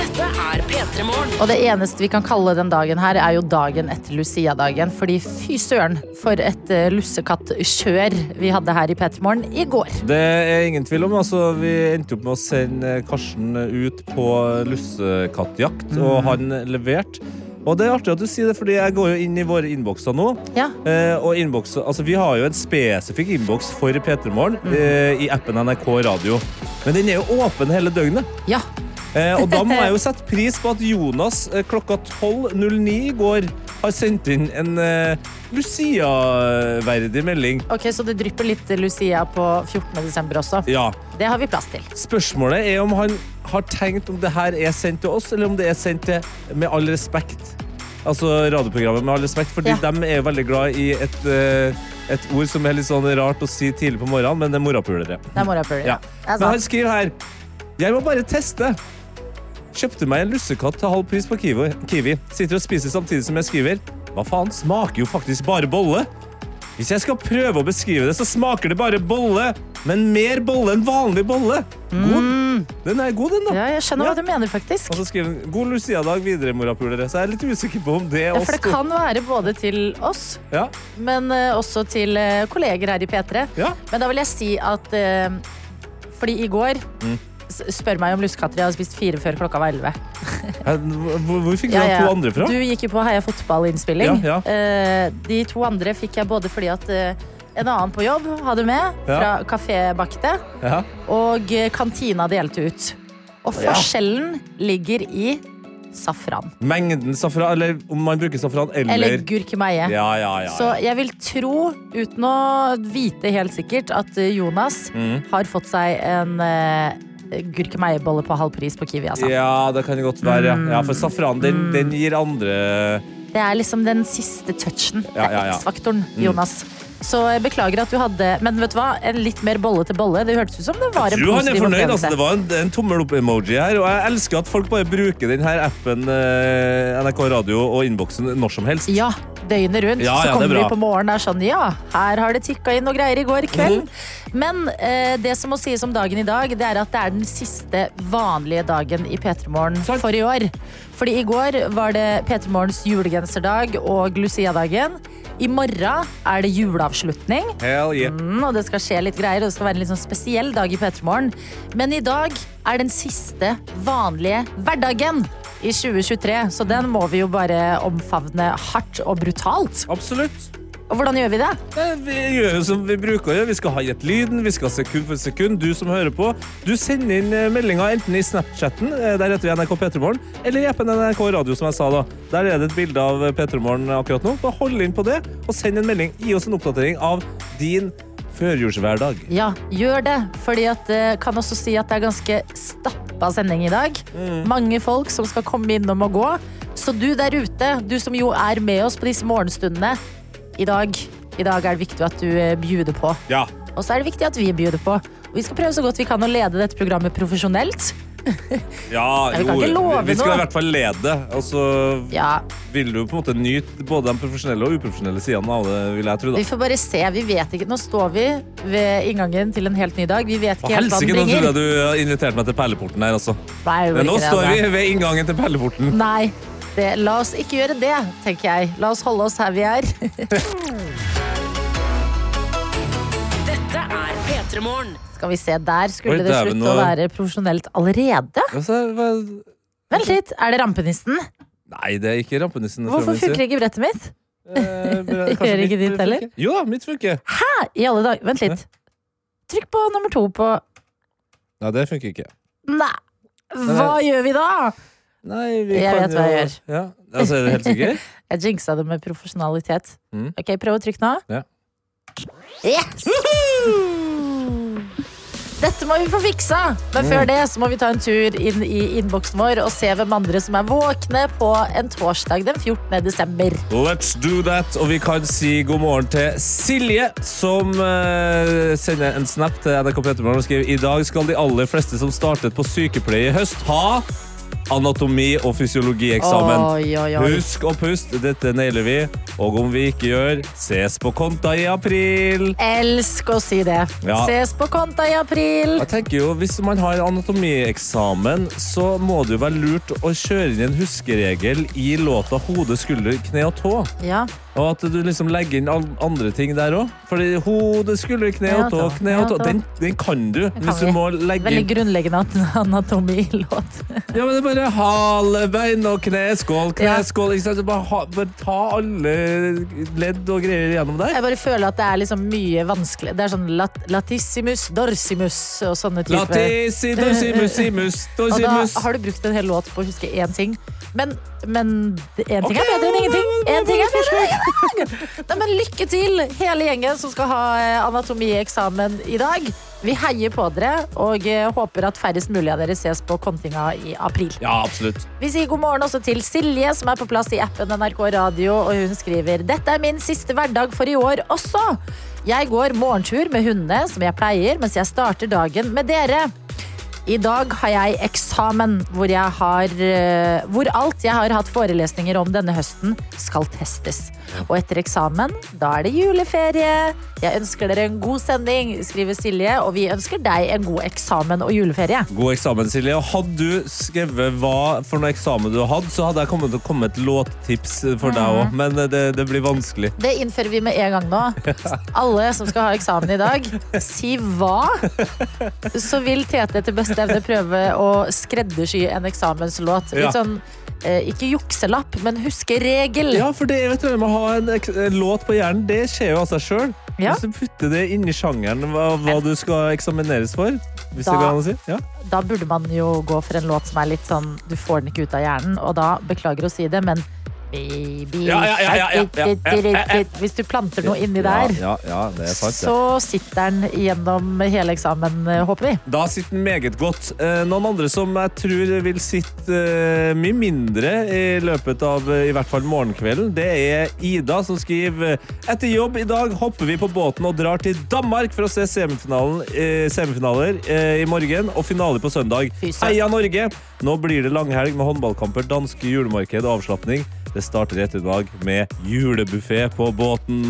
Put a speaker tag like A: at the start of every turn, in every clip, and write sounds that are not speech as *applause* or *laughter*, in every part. A: Dette er P3 Morgen.
B: Og det eneste vi kan kalle den dagen her, er jo dagen etter Lucia-dagen. Fordi fy søren, for et eh, lussekattkjør vi hadde her i Petermorgen i går.
C: Det er ingen tvil om. Altså, vi endte opp med å sende eh, Karsten ut på lussekattjakt, og han leverte. Og det er artig at du sier det, fordi jeg går jo inn i våre innbokser nå.
B: Ja.
C: Eh, og innboks, altså, vi har jo en spesifikk innboks for P3morgen eh, i appen NRK Radio. Men den er jo åpen hele døgnet.
B: ja.
C: Eh, og da må jeg jo sette pris på at Jonas eh, klokka 12.09 i går har sendt inn en eh, Lucia-verdig melding.
B: Ok, Så det drypper litt Lucia på 14. desember også.
C: Ja,
B: Det har vi plass til.
C: Spørsmålet er om han har tenkt om det her er sendt til oss, eller om det er sendt til Med all respekt. Altså radioprogrammet Med all respekt, fordi
B: Ja.
C: de er jo veldig glad i et, eh, et ord som er litt sånn rart å si tidlig på morgenen, men det er morapulere.
B: Det er morapuler.
C: Ja.
B: Det er
C: Men han
B: sant.
C: skriver her Jeg må bare teste. Kjøpte meg en lussekatt til halv pris på Kiwi. Kiwi. Sitter og spiser samtidig som jeg skriver. Hva faen? Smaker jo faktisk bare bolle. Hvis jeg skal prøve å beskrive det, så smaker det bare bolle. Men mer bolle enn vanlig bolle. God. Den er god, den, da.
B: Mm. Ja, jeg skjønner
C: Ja.
B: hva du mener, faktisk.
C: Og så skriver han God Lucia-dag videre, morapulere. Så jeg er litt usikker på om det er
B: Ja,
C: oss.
B: for det
C: da.
B: kan være både til oss,
C: Ja.
B: men eh, også til eh, kolleger her i P3.
C: Ja.
B: Men da vil jeg si at eh, Fordi i går
C: Mm.
B: s- Spør meg om lussekatter. Jeg har spist fire før klokka var elleve.
C: Ja, Hvor, hvor fikk du
B: Ja,
C: de
B: ja.
C: to andre fra?
B: Du gikk jo på Heia fotballinnspilling.
C: Ja, ja.
B: Eh, de to andre fikk jeg både fordi at eh, en annen på jobb hadde med
C: Ja.
B: fra Kafé Bakte,
C: Ja.
B: og eh, kantina delte ut. Og forskjellen ligger i safran.
C: Mengden safran, eller om man bruker safran eller,
B: Eller gurkemeie.
C: Ja, ja, ja, ja.
B: Så jeg vil tro, uten å vite helt sikkert, at eh, Jonas
C: Mm.
B: har fått seg en eh, gurkemeiebolle på halv pris på Kiwi. Altså.
C: Ja, det kan det godt være. Ja,
B: Mm.
C: ja for safran den, den gir andre
B: Det er liksom den siste touchen.
C: Ja,
B: det
C: ja, Mm.
B: er
C: ja.
B: X-faktoren, Jonas. Så jeg beklager at du hadde Men vet du hva? En litt mer bolle til bolle. Det hørtes ut som det var en
C: Du, han er
B: positiv
C: fornøyd. altså.
B: opplevelse.
C: Det var en, en tommel opp-emoji her. Og jeg elsker at folk bare bruker denne appen eh, NRK Radio og innboksen når som helst.
B: Ja, døgnet rundt.
C: Ja,
B: så
C: ja, det er
B: kommer vi
C: bra.
B: på morgenen og er sånn Ja, her har det tikka inn noe greier i går kveld.
C: Mhm.
B: Men eh, det som må sies om dagen i dag, det er at det er den siste vanlige dagen i P3 Morgen
C: Sant.
B: for i år. Fordi i går var det P3 Morgens julegenserdag og Lucia-dagen. I morgen er det juleavslutning.
C: Hell yeah.
B: Mm, og det skal skje litt greier, og det skal være en litt sånn spesiell dag i Petermorgen. Men i dag er den siste vanlige hverdagen i 2023, så den må vi jo bare omfavne hardt og brutalt.
C: Absolutt.
B: Og hvordan gjør vi det?
C: Eh, Vi gjør jo som vi bruker å gjøre. Vi skal ha gjett lyden. Vi skal sekund for sekund. Du som hører på, du sender inn eh, meldinger enten i Snapchatten, eh, der heter vi NRK Petremorgen, eller i appen NRK Radio, som jeg sa da. Der er det et bilde av Petremorgen akkurat nå. Bare hold inn på det, og send en melding. Gi oss en oppdatering av din førjulshverdag.
B: Ja, gjør det. Fordi at eh, kan også si at det er ganske stappa sending i dag. Mange folk som skal komme innom og gå. Så du der ute, du som jo er med oss på disse morgenstundene i dag, i dag er det viktig at du eh, bjuder på.
C: Ja.
B: Og så er det viktig at vi bjuder på. Og vi skal prøve så godt vi kan å lede dette programmet profesjonelt.
C: Ja,
B: Nei, vi kan ikke love
C: vi skal
B: noe.
C: i hvert fall lede. Og så
B: Ja,
C: vil du på en måte nyte både de profesjonelle og uprofesjonelle sidene av det, vil jeg tro.
B: Vi
C: da.
B: får bare se. Vi vet ikke. Nå står vi ved inngangen til en helt ny dag. Vi vet
C: Og
B: ikke helt hva
C: helsike,
B: den
C: nå trodde
B: bringer.
C: jeg du eh, inviterte meg til perleporten her, altså.
B: Nei, jeg gjorde
C: Men nå
B: ikke det,
C: står
B: altså.
C: vi ved inngangen til perleporten.
B: Nei. Det, la oss ikke gjøre det, tenker jeg. La oss holde oss her vi er. *laughs*
A: Dette er P3 Morgen.
B: Skal vi se, der skulle
C: Oi,
B: det
C: dæven,
B: slutte
C: nå-
B: å være profesjonelt allerede.
C: Altså, hva-
B: Vent litt, er det rampenissen?
C: Nei, det er ikke rampenissen.
B: Hvorfor funker ikke brettet mitt?
C: Eh,
B: *laughs* Gjør
C: Gjør
B: ikke ditt heller?
C: Jo da, mitt funker.
B: Hæ? I alle dager. Vent litt. Trykk på nummer to på
C: Nei, det funker ikke.
B: Nei, hva gjør vi da?
C: Nei, vi
B: Jeg
C: kan
B: vet hva jeg
C: jo-
B: gjør.
C: Ja. Altså, er du helt
B: *laughs*
C: sikker?
B: Jeg jinxa det med profesjonalitet.
C: Mm.
B: Ok, Prøv å trykke nå.
C: Ja.
B: Yes! Dette må vi få fiksa, men
C: Mm.
B: før det så må vi ta en tur inn i innboksen vår og se hvem andre som er våkne på en torsdag den 14. desember.
C: Let's do that, og vi kan si god morgen til Silje, som eh, sender en snap til NRK Petermann og skriver I dag skal de aller fleste som startet på sykepleie i høst, ha anatomi- og fysiologieksamen.
B: Oi, oi, oi.
C: Husk å puste, dette nailer vi. Og om vi ikke gjør, ses på konta i april.
B: Elsk å si det.
C: Ja.
B: Ses på konta i april.
C: Jeg tenker jo, Hvis man har anatomieksamen, så må det jo være lurt å kjøre inn en huskeregel i låta 'Hode, skulder, kne og tå'.
B: Ja.
C: Og at du liksom legger inn an- andre ting der òg. Fordi hode, skulder, kne og tå, kne og tå. Den, den kan du.
B: kan
C: Hvis du
B: vi.
C: må legge
B: Veldig
C: inn
B: grunnleggende at- anatomilåt.
C: Ja, men det er bare hale, bein og kne, skål,
B: Ja.
C: kne, skål. Ikke sant? Så Bare, ha, bare ta alle ledd og greier gjennom der.
B: Jeg bare føler at det er liksom mye vanskelig. Det er sånn lat latissimus, dorsimus og sånne typer.
C: Latisi, dorsimus, simus,
B: Og da
C: dorsimus.
B: har du brukt en hel låt på å huske én ting. Men, men én ting
C: Ok,
B: er bedre enn ingenting.
C: hva- hva- hva-
B: En ting er bedre enn ingenting. Nei, men lykke til, hele gjengen som skal ha eh, anatomieksamen i dag. Vi heier på dere og eh, håper at færrest mulig av dere ses på kontinga i april.
C: Ja, absolutt.
B: Vi sier god morgen også til Silje, som er på plass i appen NRK Radio. Og hun skriver Dette er min siste hverdag for i år også. Jeg går morgentur med hundene, som jeg pleier, mens jeg starter dagen med dere. I dag har jeg eksamen, hvor, jeg har, eh, hvor alt jeg har hatt forelesninger om denne høsten, skal testes. Og etter eksamen, da er det juleferie. Jeg ønsker dere en god sending, skriver Silje. Og vi ønsker deg en god eksamen og juleferie.
C: God eksamen, Silje. Og hadde du skrevet hva for noe eksamen du hadde, så hadde jeg kommet til å komme et låttips for deg
B: Mm.
C: òg, men eh, det, det blir vanskelig.
B: Det innfører vi med en gang
C: *laughs*
B: nå. Alle som skal ha eksamen i dag, si hva. Så vil Tete etter beste evne prøve å skreddersy en eksamenslåt.
C: Ja.
B: Litt sånn, eh, ikke jukselapp, men huskeregel.
C: Ja, for det er jo et eller annet med å ha en, ek- en låt på hjernen. Det skjer jo av seg sjøl.
B: Ja.
C: Hvis du putter det inn i sjangeren hva, hva du skal eksamineres for. Hvis
B: Da-
C: det går an å si. Ja.
B: Da burde man jo gå for en låt som er litt sånn Du får den ikke ut av hjernen, og da beklager å si det, men Baby
C: Ja, ja, ja, ja, ja, ja, ja, ja.
B: Hvis du planter noe inni der,
C: Ja, ja, ja, det er sant, det.
B: så sitter den gjennom hele eksamen, eh, håper vi.
C: Da sitter den meget godt. Eh, Noen andre som jeg tror vil sitte eh, mye mindre i løpet av eh, i hvert fall morgenkvelden, det er Ida som skriver eh, Etter jobb i dag hopper vi på båten og drar til Danmark for å se semifinalen, eh, semifinaler eh, i morgen og finale på søndag.
B: Fy søren.
C: Heia Norge! Nå blir det langhelg med håndballkamper, danske julemarked og avslapning. Det starter i ettermiddag med julebuffé på båten.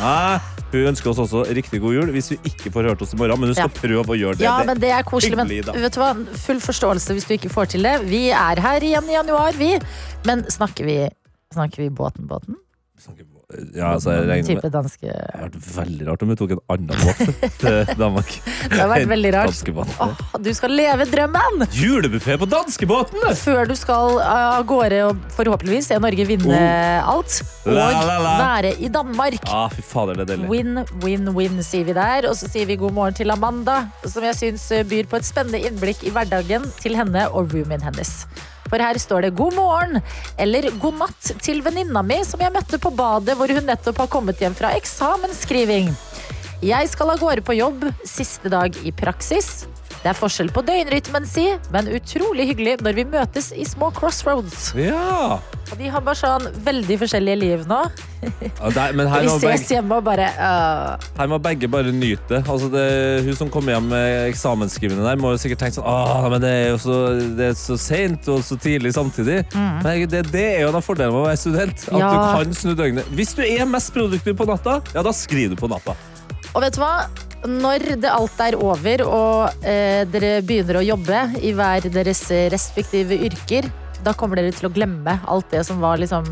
C: Hæ? Hun ønsker oss også riktig god jul hvis vi ikke får hørt oss i morgen. Men hun skal
B: Ja.
C: prøve å gjøre det.
B: Ja, men det er koselig. Men
C: hyggelig, da.
B: vet du hva? Full forståelse hvis du ikke får til det. Vi er her igjen i januar, vi. Men snakker vi Snakker vi båten-båten?
C: Ja, altså, jeg regner med
B: Type danske
C: det hadde vært veldig rart om vi tok en annen båt *laughs* til Danmark.
B: Det har vært veldig rart.
C: Danskebåten.
B: Åh, du skal leve drømmen!
C: Julebuffé på danskebåten!
B: Før du skal eh, av gårde og forhåpentligvis se Norge vinne alt. Og
C: Oh. La, la, la.
B: være i Danmark.
C: Ja, fy fader, det er deilig.
B: Win, win, win, sier vi der. Og så sier vi god morgen til Amanda, som jeg syns eh, byr på et spennende innblikk i hverdagen til henne og roomien hennes. For her står det 'god morgen' eller 'god natt' til venninna mi som jeg møtte på badet hvor hun nettopp har kommet hjem fra eksamensskriving. Jeg skal av gårde på jobb, siste dag i praksis. Det er forskjell på døgnrytmen si, men utrolig hyggelig når vi møtes i små crossroads.
C: Ja!
B: Og de har bare sånn veldig forskjellige liv nå.
C: Ja, der- Men her
B: Vi
C: må,
B: ses
C: begge,
B: hjemme og bare øh,
C: her må begge bare nyte det. altså, det. Hun som kom hjem med eksamensskrivende der, må jo sikkert tenke sånn Åh, men det er jo så, det er så sent og så tidlig samtidig. Men herregud, det, det er jo en av fordelene med å være student. At du
B: Mm. Ja.
C: kan snu døgnet. Hvis du er mest produktiv på natta, ja, da skriver du på natta.
B: Og vet du hva? Når det alt er over og eh, dere begynner å jobbe i hver deres respektive yrker, da kommer dere til å glemme alt det som var liksom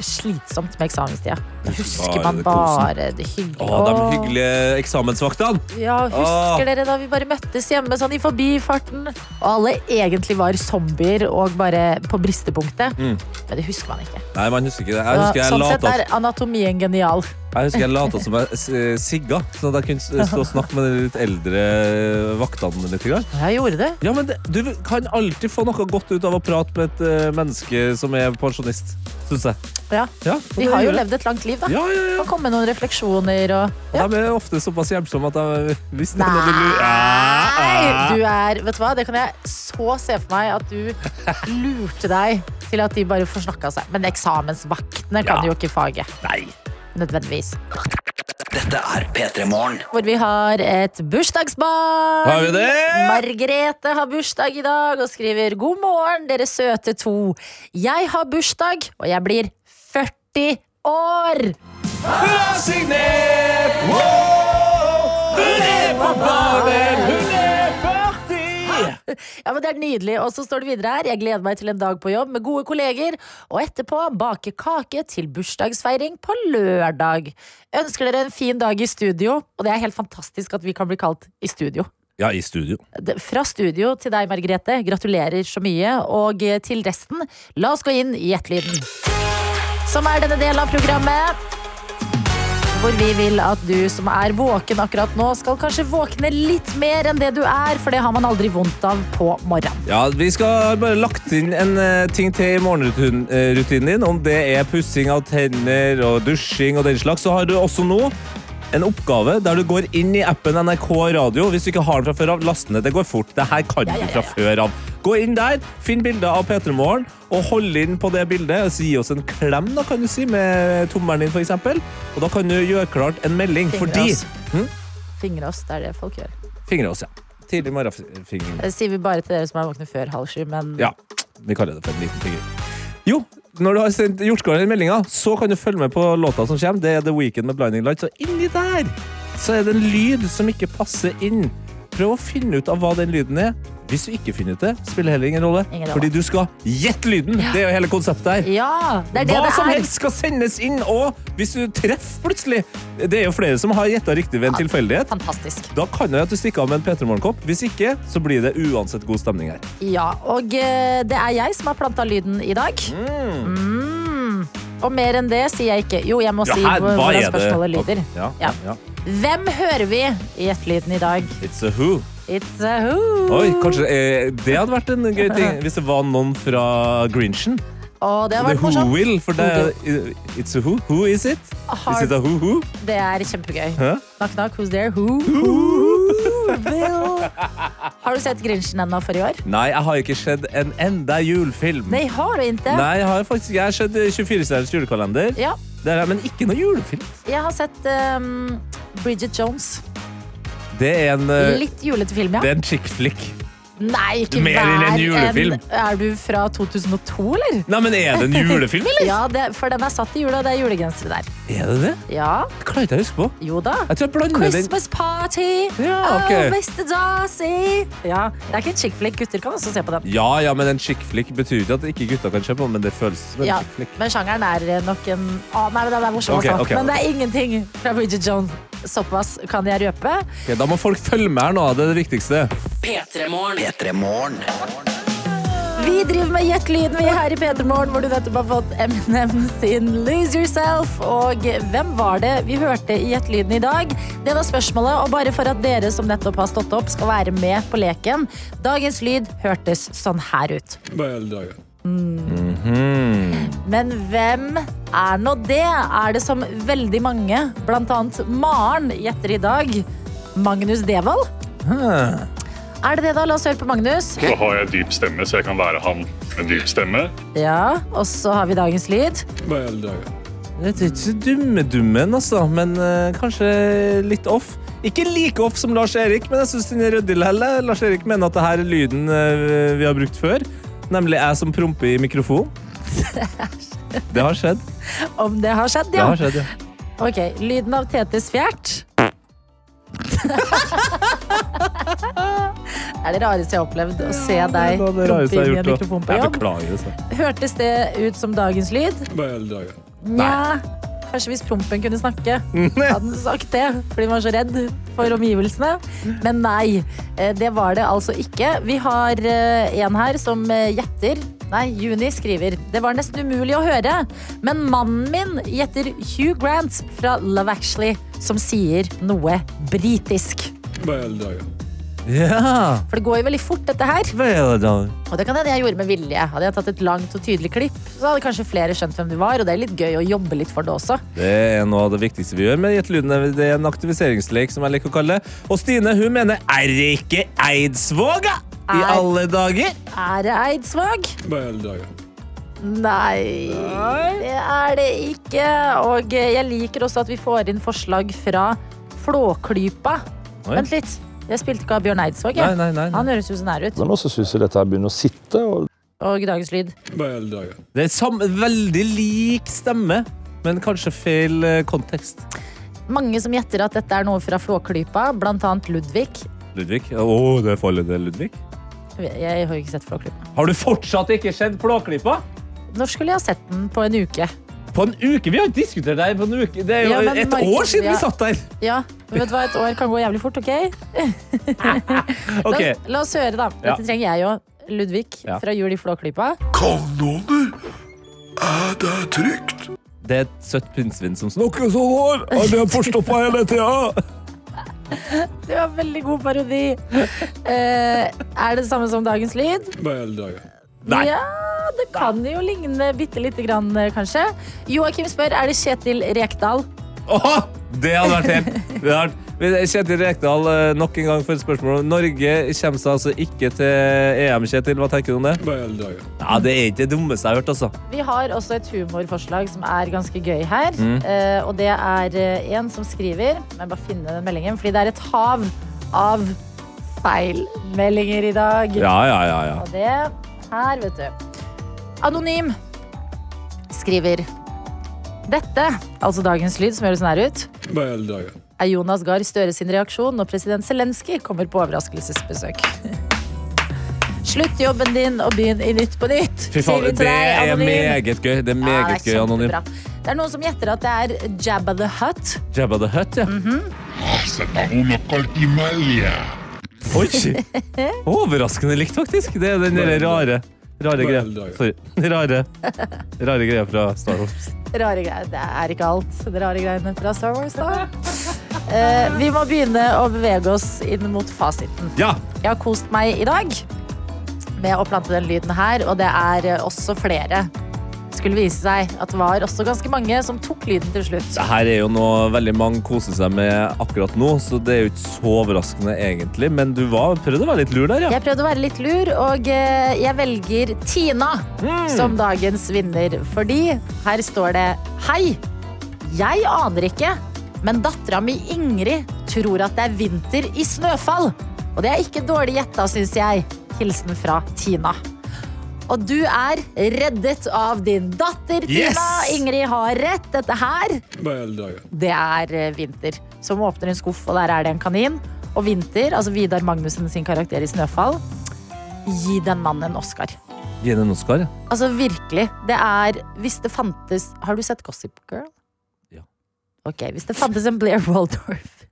B: slitsomt med eksamenstida. Da husker man
C: Bare
B: bare det hyggelige.
C: Å, de hyggelige Ah. eksamensvaktene!
B: Ja,
C: Åh.
B: husker dere da vi bare møttes hjemme sånn i forbifarten? Og alle egentlig var zombier og bare på bristepunktet. Men det husker man ikke.
C: Mm. Nei, man husker ikke det. Jeg husker jeg
B: sånn sett
C: lata,
B: er anatomien genial.
C: jeg husker jeg lata som jeg eh, sigga, sånn at jeg kunne stå og snakke med de litt eldre vaktene litt. grann.
B: Jeg gjorde det.
C: Ja, men det, Du kan alltid få noe godt ut av å prate med et eh, menneske som er pensjonist, syns jeg.
B: Ja.
C: Ja,
B: De har jo levd et langt liv, da.
C: Ja, ja, ja.
B: Kan komme med noen refleksjoner og
C: Og De er ofte såpass hjelpsomme at jeg visste det.
B: Nei! Du er Vet du hva, det kan jeg så se for meg at du lurte deg til at de bare forsnakka seg. Men eksamensvaktene kan
C: Ja.
B: jo ikke faget. Nødvendigvis.
D: Dette er P3 Morgen.
B: hvor vi har et bursdagsbarn.
C: Har vi det?
B: Margrethe har bursdag i dag og skriver 'God morgen, dere søte to'. Jeg har bursdag, og jeg blir 40 år.
C: Hun er signert! Wow! Hun er på banen! Hun er 40!
B: Ja, men Det er nydelig. Og så står det videre her. Jeg gleder meg til en dag på jobb med gode kolleger, og etterpå bake kake til bursdagsfeiring på lørdag. Ønsker dere en fin dag i studio, og det er helt fantastisk at vi kan bli kalt i studio.
C: Ja, i studio.
B: Det- Fra studio til deg, Margrethe. Gratulerer så mye. Og eh, til resten, la oss gå inn i Gjettelyden. Som er denne delen av programmet. Hvor vi vil at du som er våken akkurat nå, skal kanskje våkne litt mer enn det du er, for det har man aldri vondt av på morgenen.
C: Ja, Vi skal bare lagt inn en eh, ting til i morgenrutinen eh, rutinen din. Om det er pussing av tenner og dusjing og den slags, så har du også nå en oppgave der du går inn i appen NRK Radio. Hvis du ikke har den fra før av, last den ned. Det går fort. Det her kan du fra før av. Gå inn der, finn bilder av P3 Morgen, og hold inn på det bildet. Og så gi oss en klem, da, kan du si, med tommelen din, f.eks. Og da kan du gjøre klart en melding.
B: Fingre
C: fordi
B: oss. Fingre oss, det er det folk gjør.
C: Fingre oss, ja. Tidlig morgenfingring.
B: Det sier vi bare til dere som er våkne før halv sju, men
C: Ja, vi kaller det for en liten finger. Jo, når du har sendt gjort klar den meldinga, så kan du følge med på låta som kommer. Det er The Weekend med Blinding Lights, og inni der så er det en lyd som ikke passer inn. Prøv å finne ut av hva den lyden er. Hvis du ikke finner ut det, spiller heller ingen rolle.
B: Ingen rolle.
C: fordi du skal gjette lyden! Det er jo hele konseptet her.
B: Ja, det er det
C: Hva
B: det
C: som
B: er.
C: helst skal sendes inn, og hvis du treffer plutselig Det er jo flere som har gjetta riktig ved en tilfeldighet.
B: Fantastisk.
C: Da kan det jo at du stikker av med en P3 Morgenkopp. Hvis ikke, så blir det uansett god stemning her.
B: Ja, og eh, det er jeg som har planta lyden i dag. Mm. Og mer enn det sier jeg ikke. Jo, jeg må
C: Ja,
B: si
C: her,
B: hvor-
C: hva er
B: hvordan
C: det?
B: spørsmålet lyder.
C: Ja,
B: Ja.
C: ja.
B: Hvem hører vi i Gjettelyden i dag?
C: It's a who.
B: It's a who.
C: Oi, kanskje eh, Det hadde vært en gøy
B: *laughs*
C: ting hvis det var noen fra Grinchen.
B: Og det har
C: The
B: vært
C: Who
B: morsomt.
C: Will, for det er eh, It's a who. Who is it? Is it a who who?
B: Det er kjempegøy.
C: Hæ?
B: Knock, knock, who's there? Who? Who
C: *laughs*
B: will? Har du sett Grinchen ennå for i år?
C: Nei, jeg har ikke sett en enda julefilm.
B: Nei, har du ikke?
C: Nei, jeg har faktisk jeg har sett 24-stjerners julekalender.
B: Ja,
C: Det er, men ikke noen julefilm.
B: jeg har sett ehm, Bridget Jones.
C: Det er en, eh,
B: Litt julete film, ja.
C: det er en chick flick.
B: Nei, ikke
C: Mer enn en
B: vær
C: julefilm.
B: Er du fra 2002, eller?
C: Nei, men er
B: *laughs*
C: det en julefilm, eller?
B: Ja, det, for den er satt i jula, og det er julegensere der.
C: Er det det?
B: Ja,
C: Det klarer ikke jeg å huske på.
B: jo da.
C: Jeg tror jeg blander den.
B: Christmas party!
C: Ja, ok.
B: Oh, Mr. Darcy! Ja, det er ikke en chick flick. Gutter kan også se på den.
C: Ja, ja, men en chick flick betyr ikke at ikke gutta kan kjøpe den, men det føles som en
B: Ja,
C: chick flick.
B: men sjangeren er eh, nok en Å, Nei, men den er morsom,
C: Ok,
B: altså.
C: ok,
B: Men det er ingenting fra Bridget Jones. Såpass kan jeg røpe.
C: Ok, da må folk følge med her nå, det er det viktigste.
A: P3morgen.
D: P3 Morgen.
B: Vi driver med Gjett lyden, vi her i P3morgen, hvor du nettopp har fått Eminem sin Lose Yourself. Og hvem var det vi hørte i Gjett lyden i dag? Det var spørsmålet, og bare for at dere som nettopp har stått opp, skal være med på leken. Dagens lyd hørtes sånn her ut. Mm. Men hvem er nå det? Er det som veldig mange, blant annet Maren, gjetter i dag Magnus Devold? Er det det, da? La oss høre på Magnus.
E: Så har jeg dyp stemme, så jeg kan være han med dyp stemme.
B: Ja, Og så har vi dagens lyd.
C: Jeg er ikke så dumme-dummen, altså, men eh, kanskje litt off. Ikke like off som Lars-Erik, men jeg synes den er ryddig likevel. Lars-Erik mener at det her er lyden eh, vi har brukt før, nemlig jeg som promper i
B: *laughs*
C: mikrofon. Det har skjedd.
B: Om det har skjedd,
C: Det
B: ja.
C: har skjedd, ja.
B: Ok, Lyden av Tetes
C: *laughs*
B: fjert. Det er det rareste jeg har opplevd. Å se deg
C: Det var det rareste
B: prompe inn i
C: jeg har
B: en
C: gjort, da.
B: mikrofon på
C: Jeg
B: jobb.
C: beklager altså. det. så.
B: Hørtes det ut som dagens lyd? Nja, kanskje hvis prompen kunne snakke. Hadde den sagt det, fordi man var så redd for omgivelsene. Men nei, eh, det var det altså ikke. Vi har eh, en her som eh, gjetter. Nei, Juni skriver Det var nesten umulig å høre, men mannen min gjetter Hugh Grant fra Love Actually, som sier noe britisk.
C: Ja,
B: For det går jo veldig fort, dette her.
C: vel da.
B: Og det kan hende jeg gjorde med vilje. Hadde jeg tatt et langt og tydelig klipp, så hadde kanskje flere skjønt hvem du var, og det er litt gøy å jobbe litt for det også.
C: Det er noe av det viktigste vi gjør med Gjettelydene. Det er en aktiviseringslek, som jeg liker å kalle det. Og Stine, hun mener er det ikke Eidsvåga i
B: Er-
C: alle dager?
B: Er det Eidsvåg? Nei, det er det ikke. Og eh, jeg liker også at vi får inn forslag fra Flåklypa.
C: Oi.
B: Vent litt. Jeg spilte ikke av Bjørn Eidsvåg.
C: Nei,
B: jeg.
C: nei, nei, nei.
B: Han høres jo så nær ut.
F: Men også syns jeg dette her begynner å sitte. og
B: Og dagens lyd.
C: Det er samme, veldig lik stemme, men kanskje feil eh, kontekst.
B: Mange som gjetter at dette er noe fra Flåklypa, blant annet Ludvig.
C: Ludvig? Å, det er farlig, det, Ludvig.
B: Jeg har jo ikke sett Flåklypa.
C: Har du fortsatt ikke sett Flåklypa?
B: Når skulle jeg ha sett den på en uke?
C: På en uke? Vi har ikke diskutert det her på en uke. Det er jo
B: Ja, men
C: et
B: Markus,
C: år siden
B: ja.
C: vi satt der.
B: Ja, men vet du hva, Et år kan gå jævlig fort, OK? La,
C: Ok,
B: oss- la oss høre, da.
C: Ja.
B: Dette trenger jeg jo. Ludvig
C: Ja.
B: fra Jul i Flåklypa.
C: Det er et søtt pinnsvin som snakker sånn her. Alle er forstoppa hele tida.
B: Det var en veldig god parodi. *laughs* Eh, er det det samme som dagens lyd?
C: Nei.
B: Ja, det kan jo ligne bitte lite grann, eh, kanskje. Joakim spør er det Kjetil Rekdal.
C: Åh, det hadde vært helt det hadde vært- Kjetil Rekdal, eh, nok en gang for et spørsmål. Norge kommer seg altså ikke til EM, Kjetil. Hva tenker du om det? Ja, Det er ikke det dummeste jeg har hørt, altså.
B: Vi har også et humorforslag som er ganske gøy her.
C: Mm.
B: Eh, og det er eh, en som skriver Jeg må bare finne den meldingen, fordi det er et hav av feilmeldinger i dag.
C: Ja, ja, ja, ja.
B: Og det her, vet du. Anonym skriver Dette, altså dagens lyd som høres nær ut, er Jonas Gahr Støre sin reaksjon når president Zelenskyj kommer på overraskelsesbesøk. *laughs* Slutt jobben din og begynn i Nytt på nytt.
C: Fy
B: sier
C: faen,
B: vi
C: det
B: til deg,
C: er
B: Anonym.
C: meget gøy. Det er
B: Ja,
C: meget
B: det er
C: gøy, Anonym.
B: kjempebra. Det er noen som gjetter at det er Jabba the Hutt.
C: Jabba the Hutt, ja.
B: Mhm.
C: *laughs* Oi! Overraskende likt, faktisk. Det er den der rare Rare greia. Sorry. *laughs* Rare, rare greia fra Star Wars.
B: Rare greier. Det er ikke alt. Det rare greiene fra Star Wars,
C: *laughs*
B: da. Eh, vi må begynne å bevege oss inn mot fasiten.
C: Ja!
B: Jeg har kost meg i dag med å plante den lyden her, og det er eh, også flere. Det skulle vise seg at det var også ganske mange som tok lyden til slutt.
C: Det her er jo noe veldig mange koser seg med akkurat nå, så det er jo ikke så overraskende egentlig. Men du var, prøvde å være litt lur der, ja.
B: Jeg prøvde å være litt lur, og eh, jeg velger Tina som dagens vinner. Fordi her står det Hei, jeg aner ikke, men dattera mi Ingrid tror at det er vinter i snøfall. Og det er ikke dårlig gjetta, syns jeg. Hilsen fra Tina. Og du er reddet av din datter,
C: Yes!
B: Tina. Ingrid har rett. Dette her det er eh, vinter. Som åpner en skuff, og der er det en kanin. Og vinter, altså Vidar Magnussen sin karakter i Snøfall, gi den mannen en Oscar.
C: Gi den en Oscar, ja.
B: Altså virkelig, det er Hvis det fantes Har du sett Gossip Girl?
C: Ja.
B: Ok, hvis det fantes en Blair Waldorf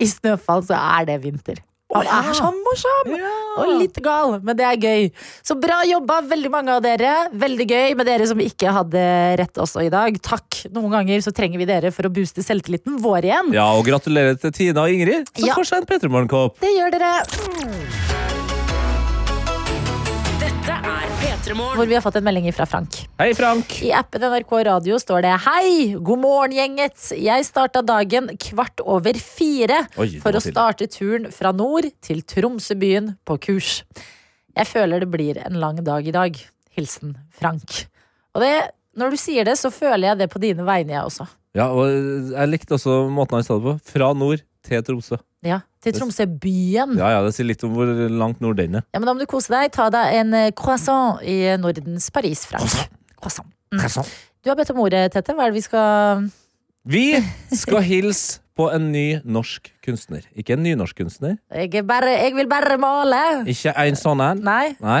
B: i Snøfall, så er det vinter. Han er så morsom! Og litt gal, men det er gøy. Så bra jobba, veldig mange av dere. Veldig gøy med dere som ikke hadde rett også i dag. Takk. Noen ganger så trenger vi dere for å booste selvtilliten vår igjen.
C: Ja, og gratulerer til Tina og Ingrid, som
B: Ja.
C: får seg en Petremorgenkopp.
B: Det gjør dere.
A: Dette er P3morgen.
B: Hvor vi har fått en melding fra Frank.
C: Hei, Frank.
B: I appen NRK Radio står det Hei, god morgen gjenget Jeg startet dagen kvart over fire
C: Oi, det
B: For
C: var
B: å
C: tidlig.
B: starte turen fra nord til Tromsøbyen på kurs Jeg føler det blir en lang dag i dag Hilsen Frank Og det, når du sier det så føler jeg det på dine vegne jeg også
C: Ja, og jeg likte også måten han sa det på. Fra nord til Tromsø.
B: ja, til Tromsøbyen ja.
C: Ja, ja, det sier litt om hvor langt nord den er.
B: men da må du kose deg Ta deg en eh, croissant i Nordens Paris, Frank Croissant Mm. Du har bedt om ordet, Tette Hva er det vi skal...
C: Vi skal hilse på en ny norsk kunstner. Ikke en ny norsk kunstner.
B: Jeg, er bare, jeg vil bare male
C: Ikke en sånn en.
B: Nei
C: Nei,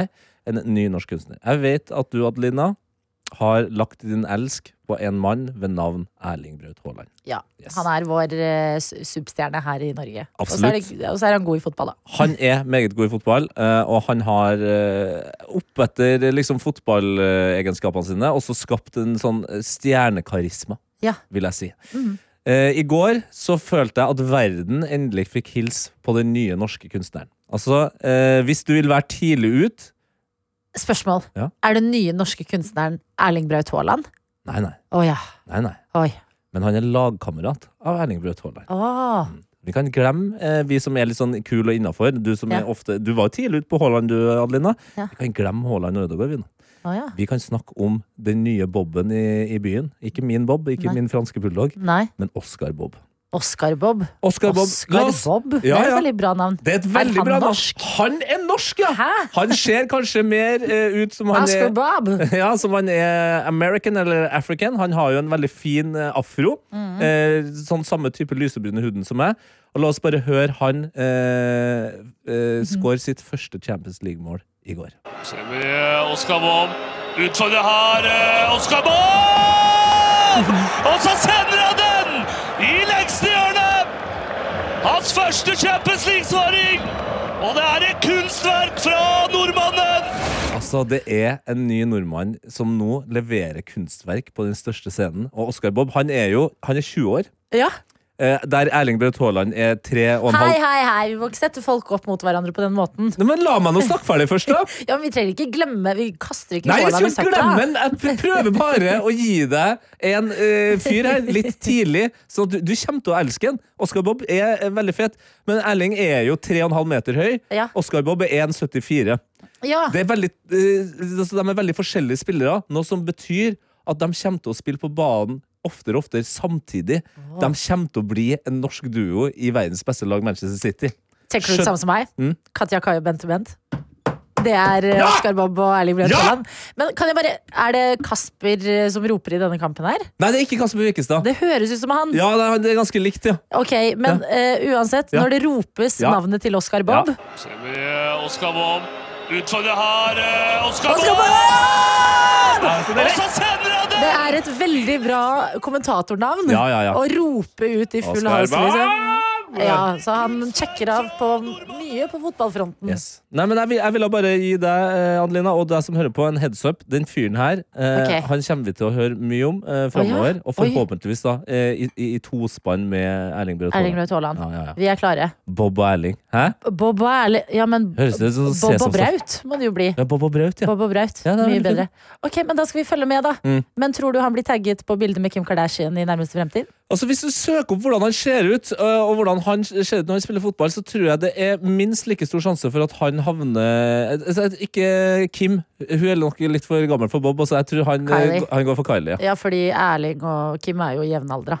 C: en ny norsk kunstner. Jeg vet at du, Adelina, har lagt din elsk på en mann ved navn Erling Braut Haaland.
B: Ja,
C: Yes.
B: han er vår eh, s- substjerne her i Norge. Og så er
C: Absolutt.
B: det- Og så er han god i fotball, da.
C: Han er meget god i fotball, eh, og han har eh, oppetter liksom, fotballegenskapene sine også skapt en sånn eh, stjernekarisma,
B: Ja.
C: vil jeg si. Eh, I går så følte jeg at verden endelig fikk hilse på den nye norske kunstneren. Altså, eh, hvis du vil være tidlig ut
B: Spørsmål.
C: Ja.
B: Er den nye norske kunstneren Erling Braut Haaland?
C: Nei, nei.
B: Å ja.
C: nei, nei.
B: Oi.
C: Men han er lagkamerat av Erling Braut Haaland.
B: Å.
C: Vi kan glemme, eh, vi som er litt sånn kul og innafor Du som
B: Ja.
C: er ofte, du var jo tidlig ute på Haaland, du, Adelina.
B: Ja.
C: Vi kan glemme Haaland og Ødegaard, vi nå.
B: Å ja.
C: Vi kan snakke om den nye Boben i, i byen. Ikke min Bob, ikke
B: Nei.
C: min franske bulldog,
B: Nei.
C: men Oscar Bob.
B: Oscar Bob.
C: Oscar Bob. la
B: Oscar
C: oss-
B: Bob. Det
C: Ja,
B: er et
C: ja.
B: veldig bra navn.
C: Det er et veldig
B: han
C: bra navn.
B: norsk?
C: Han er norsk, ja!
B: Hæ?
C: Han ser kanskje mer eh, ut som han
B: Oscar
C: er
B: Bob.
C: *laughs* ja, som han er American eller African. Han har jo en veldig fin eh, afro. eh, sånn samme type lysebrune huden som meg. Og la oss bare høre han eh, eh, score sitt første Champions League-mål i går.
G: Oskar Bohm. Utfordrer her eh, Oskar Bohm! Og så sender han den i lengste hjørne! Hans første Champions League-skåring! Og det er et kunstverk fra nordmannen!
C: Altså, Det er en ny nordmann som nå leverer kunstverk på den største scenen. Og Oscar Bob han er jo han er 20 år.
B: Ja.
C: Eh, der Erling Braut Haaland er tre og en
B: Hei,
C: halv
B: hei, hei. Vi må ikke sette folk opp mot hverandre på den måten.
C: Nei, Men la meg nå snakke ferdig først, da!
B: Ja, men Vi trenger ikke glemme Vi kaster ikke
C: Nei, jeg
B: Haaland i
C: skal
B: søpla.
C: glemme den! Jeg pr- prøver bare å gi deg en eh, fyr her litt tidlig, så du, du kommer til å elske den. Oscar Bob er eh, veldig fet, men Erling er jo 3,5 meter høy.
B: Ja.
C: Oscar Bob er 1,74.
B: Ja.
C: Det er veldig, eh, altså, de er veldig forskjellige spillere, noe som betyr at de kommer til å spille på banen oftere og oftere samtidig. De kommer til å bli en norsk duo i verdens beste lag, Manchester City.
B: Tenker du det
C: Skjøn- Mm.
B: samme som meg? Katja Kai og Bente Bent. Det er eh, Oscar Bob og Erling Braut
C: Ja!
B: Haaland. Men kan jeg bare, er det Kasper eh, som roper i denne kampen her?
C: Nei, det er ikke Kasper Wikestad.
B: Det høres ut som han.
C: Ja, det er- det er ganske likt, ja.
B: Ok, Men eh, uansett,
C: Ja.
B: når det ropes
C: Ja.
B: navnet til Oscar Bob
C: Ja.
G: Ser vi eh, Oskar Bohm. Utfordrer her eh, Oskar
B: Oscar
G: Bohm!
B: Bob!
G: Og så sender han
B: Det
G: den!
B: er et veldig bra kommentatornavn
C: Ja, ja, ja.
B: å rope ut i full
C: Oscar
B: hals. Liksom.
C: Bob!
B: Ja, så han sjekker av på mye på fotballfronten.
C: Yes. Nei, men jeg, vil- jeg ville bare gi deg, eh, Adelina, og deg som hører på, en heads up. Den fyren her, eh,
B: Ok.
C: han kommer vi til å høre mye om eh, framover.
B: Oi.
C: Og forhåpentligvis da, eh, i, i, i tospann med Erling Braut
B: Erling
C: Haaland.
B: Braut Haaland.
C: Ja, ja, ja.
B: Vi er klare.
C: Bob og Erling. Hæ?
B: Bob og Erling Ja, men
C: Høres det ut som
B: Bob og
C: Sesam-
B: Braut må det jo bli.
C: Ja, Bob og Braut, ja.
B: Bob og Braut.
C: Ja, det er
B: Mye
C: veldig Mm.
B: bedre. Ok, men Da skal vi følge med, da. Men tror du han blir tagget på bildet med Kim Kardashian i nærmeste fremtid?
C: Altså, Hvis du søker opp hvordan han ser ut, øh, og hvordan han ser ut når han spiller fotball, så tror jeg det er minst like stor sjanse for at han havner altså, Ikke Kim, hun er nok litt for gammel for Bob, så jeg tror han,
B: Kylie.
C: eh, han går for Kylie. ja.
B: Ja, fordi Erling og Kim er jo jevnaldra.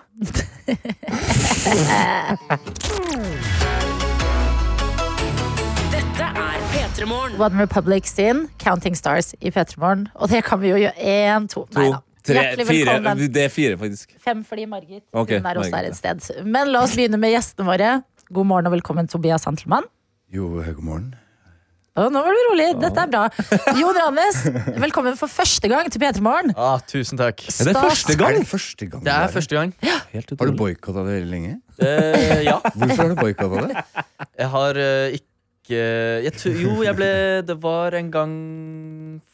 A: Dette er P3 Morgen.
B: One Republic sin Counting Stars i P3 Morgen. Og det kan vi jo gjøre. Én, to, nei da. Hjertelig velkommen.
C: Det er fire, faktisk.
B: Fem fordi Margit
C: Ok,
B: hun er også
C: Margit,
B: der et sted. Men la oss begynne med gjestene våre. God morgen og velkommen, Tobias Hantelmann.
H: Jo, god morgen.
B: Å, nå var du rolig. Dette er bra. Jon Rannes, velkommen for første gang til P3 Morgen.
I: Ah, tusen takk.
C: Er det første
H: Er
C: gang?
H: det første gang?
I: Det er
H: du her?
I: første gang.
H: Har du boikotta det veldig lenge?
I: Eh, ja,
H: *laughs* Hvorfor har du boikotta det?
I: jeg har eh, ikke jeg tu- Jo, jeg ble Det var en gang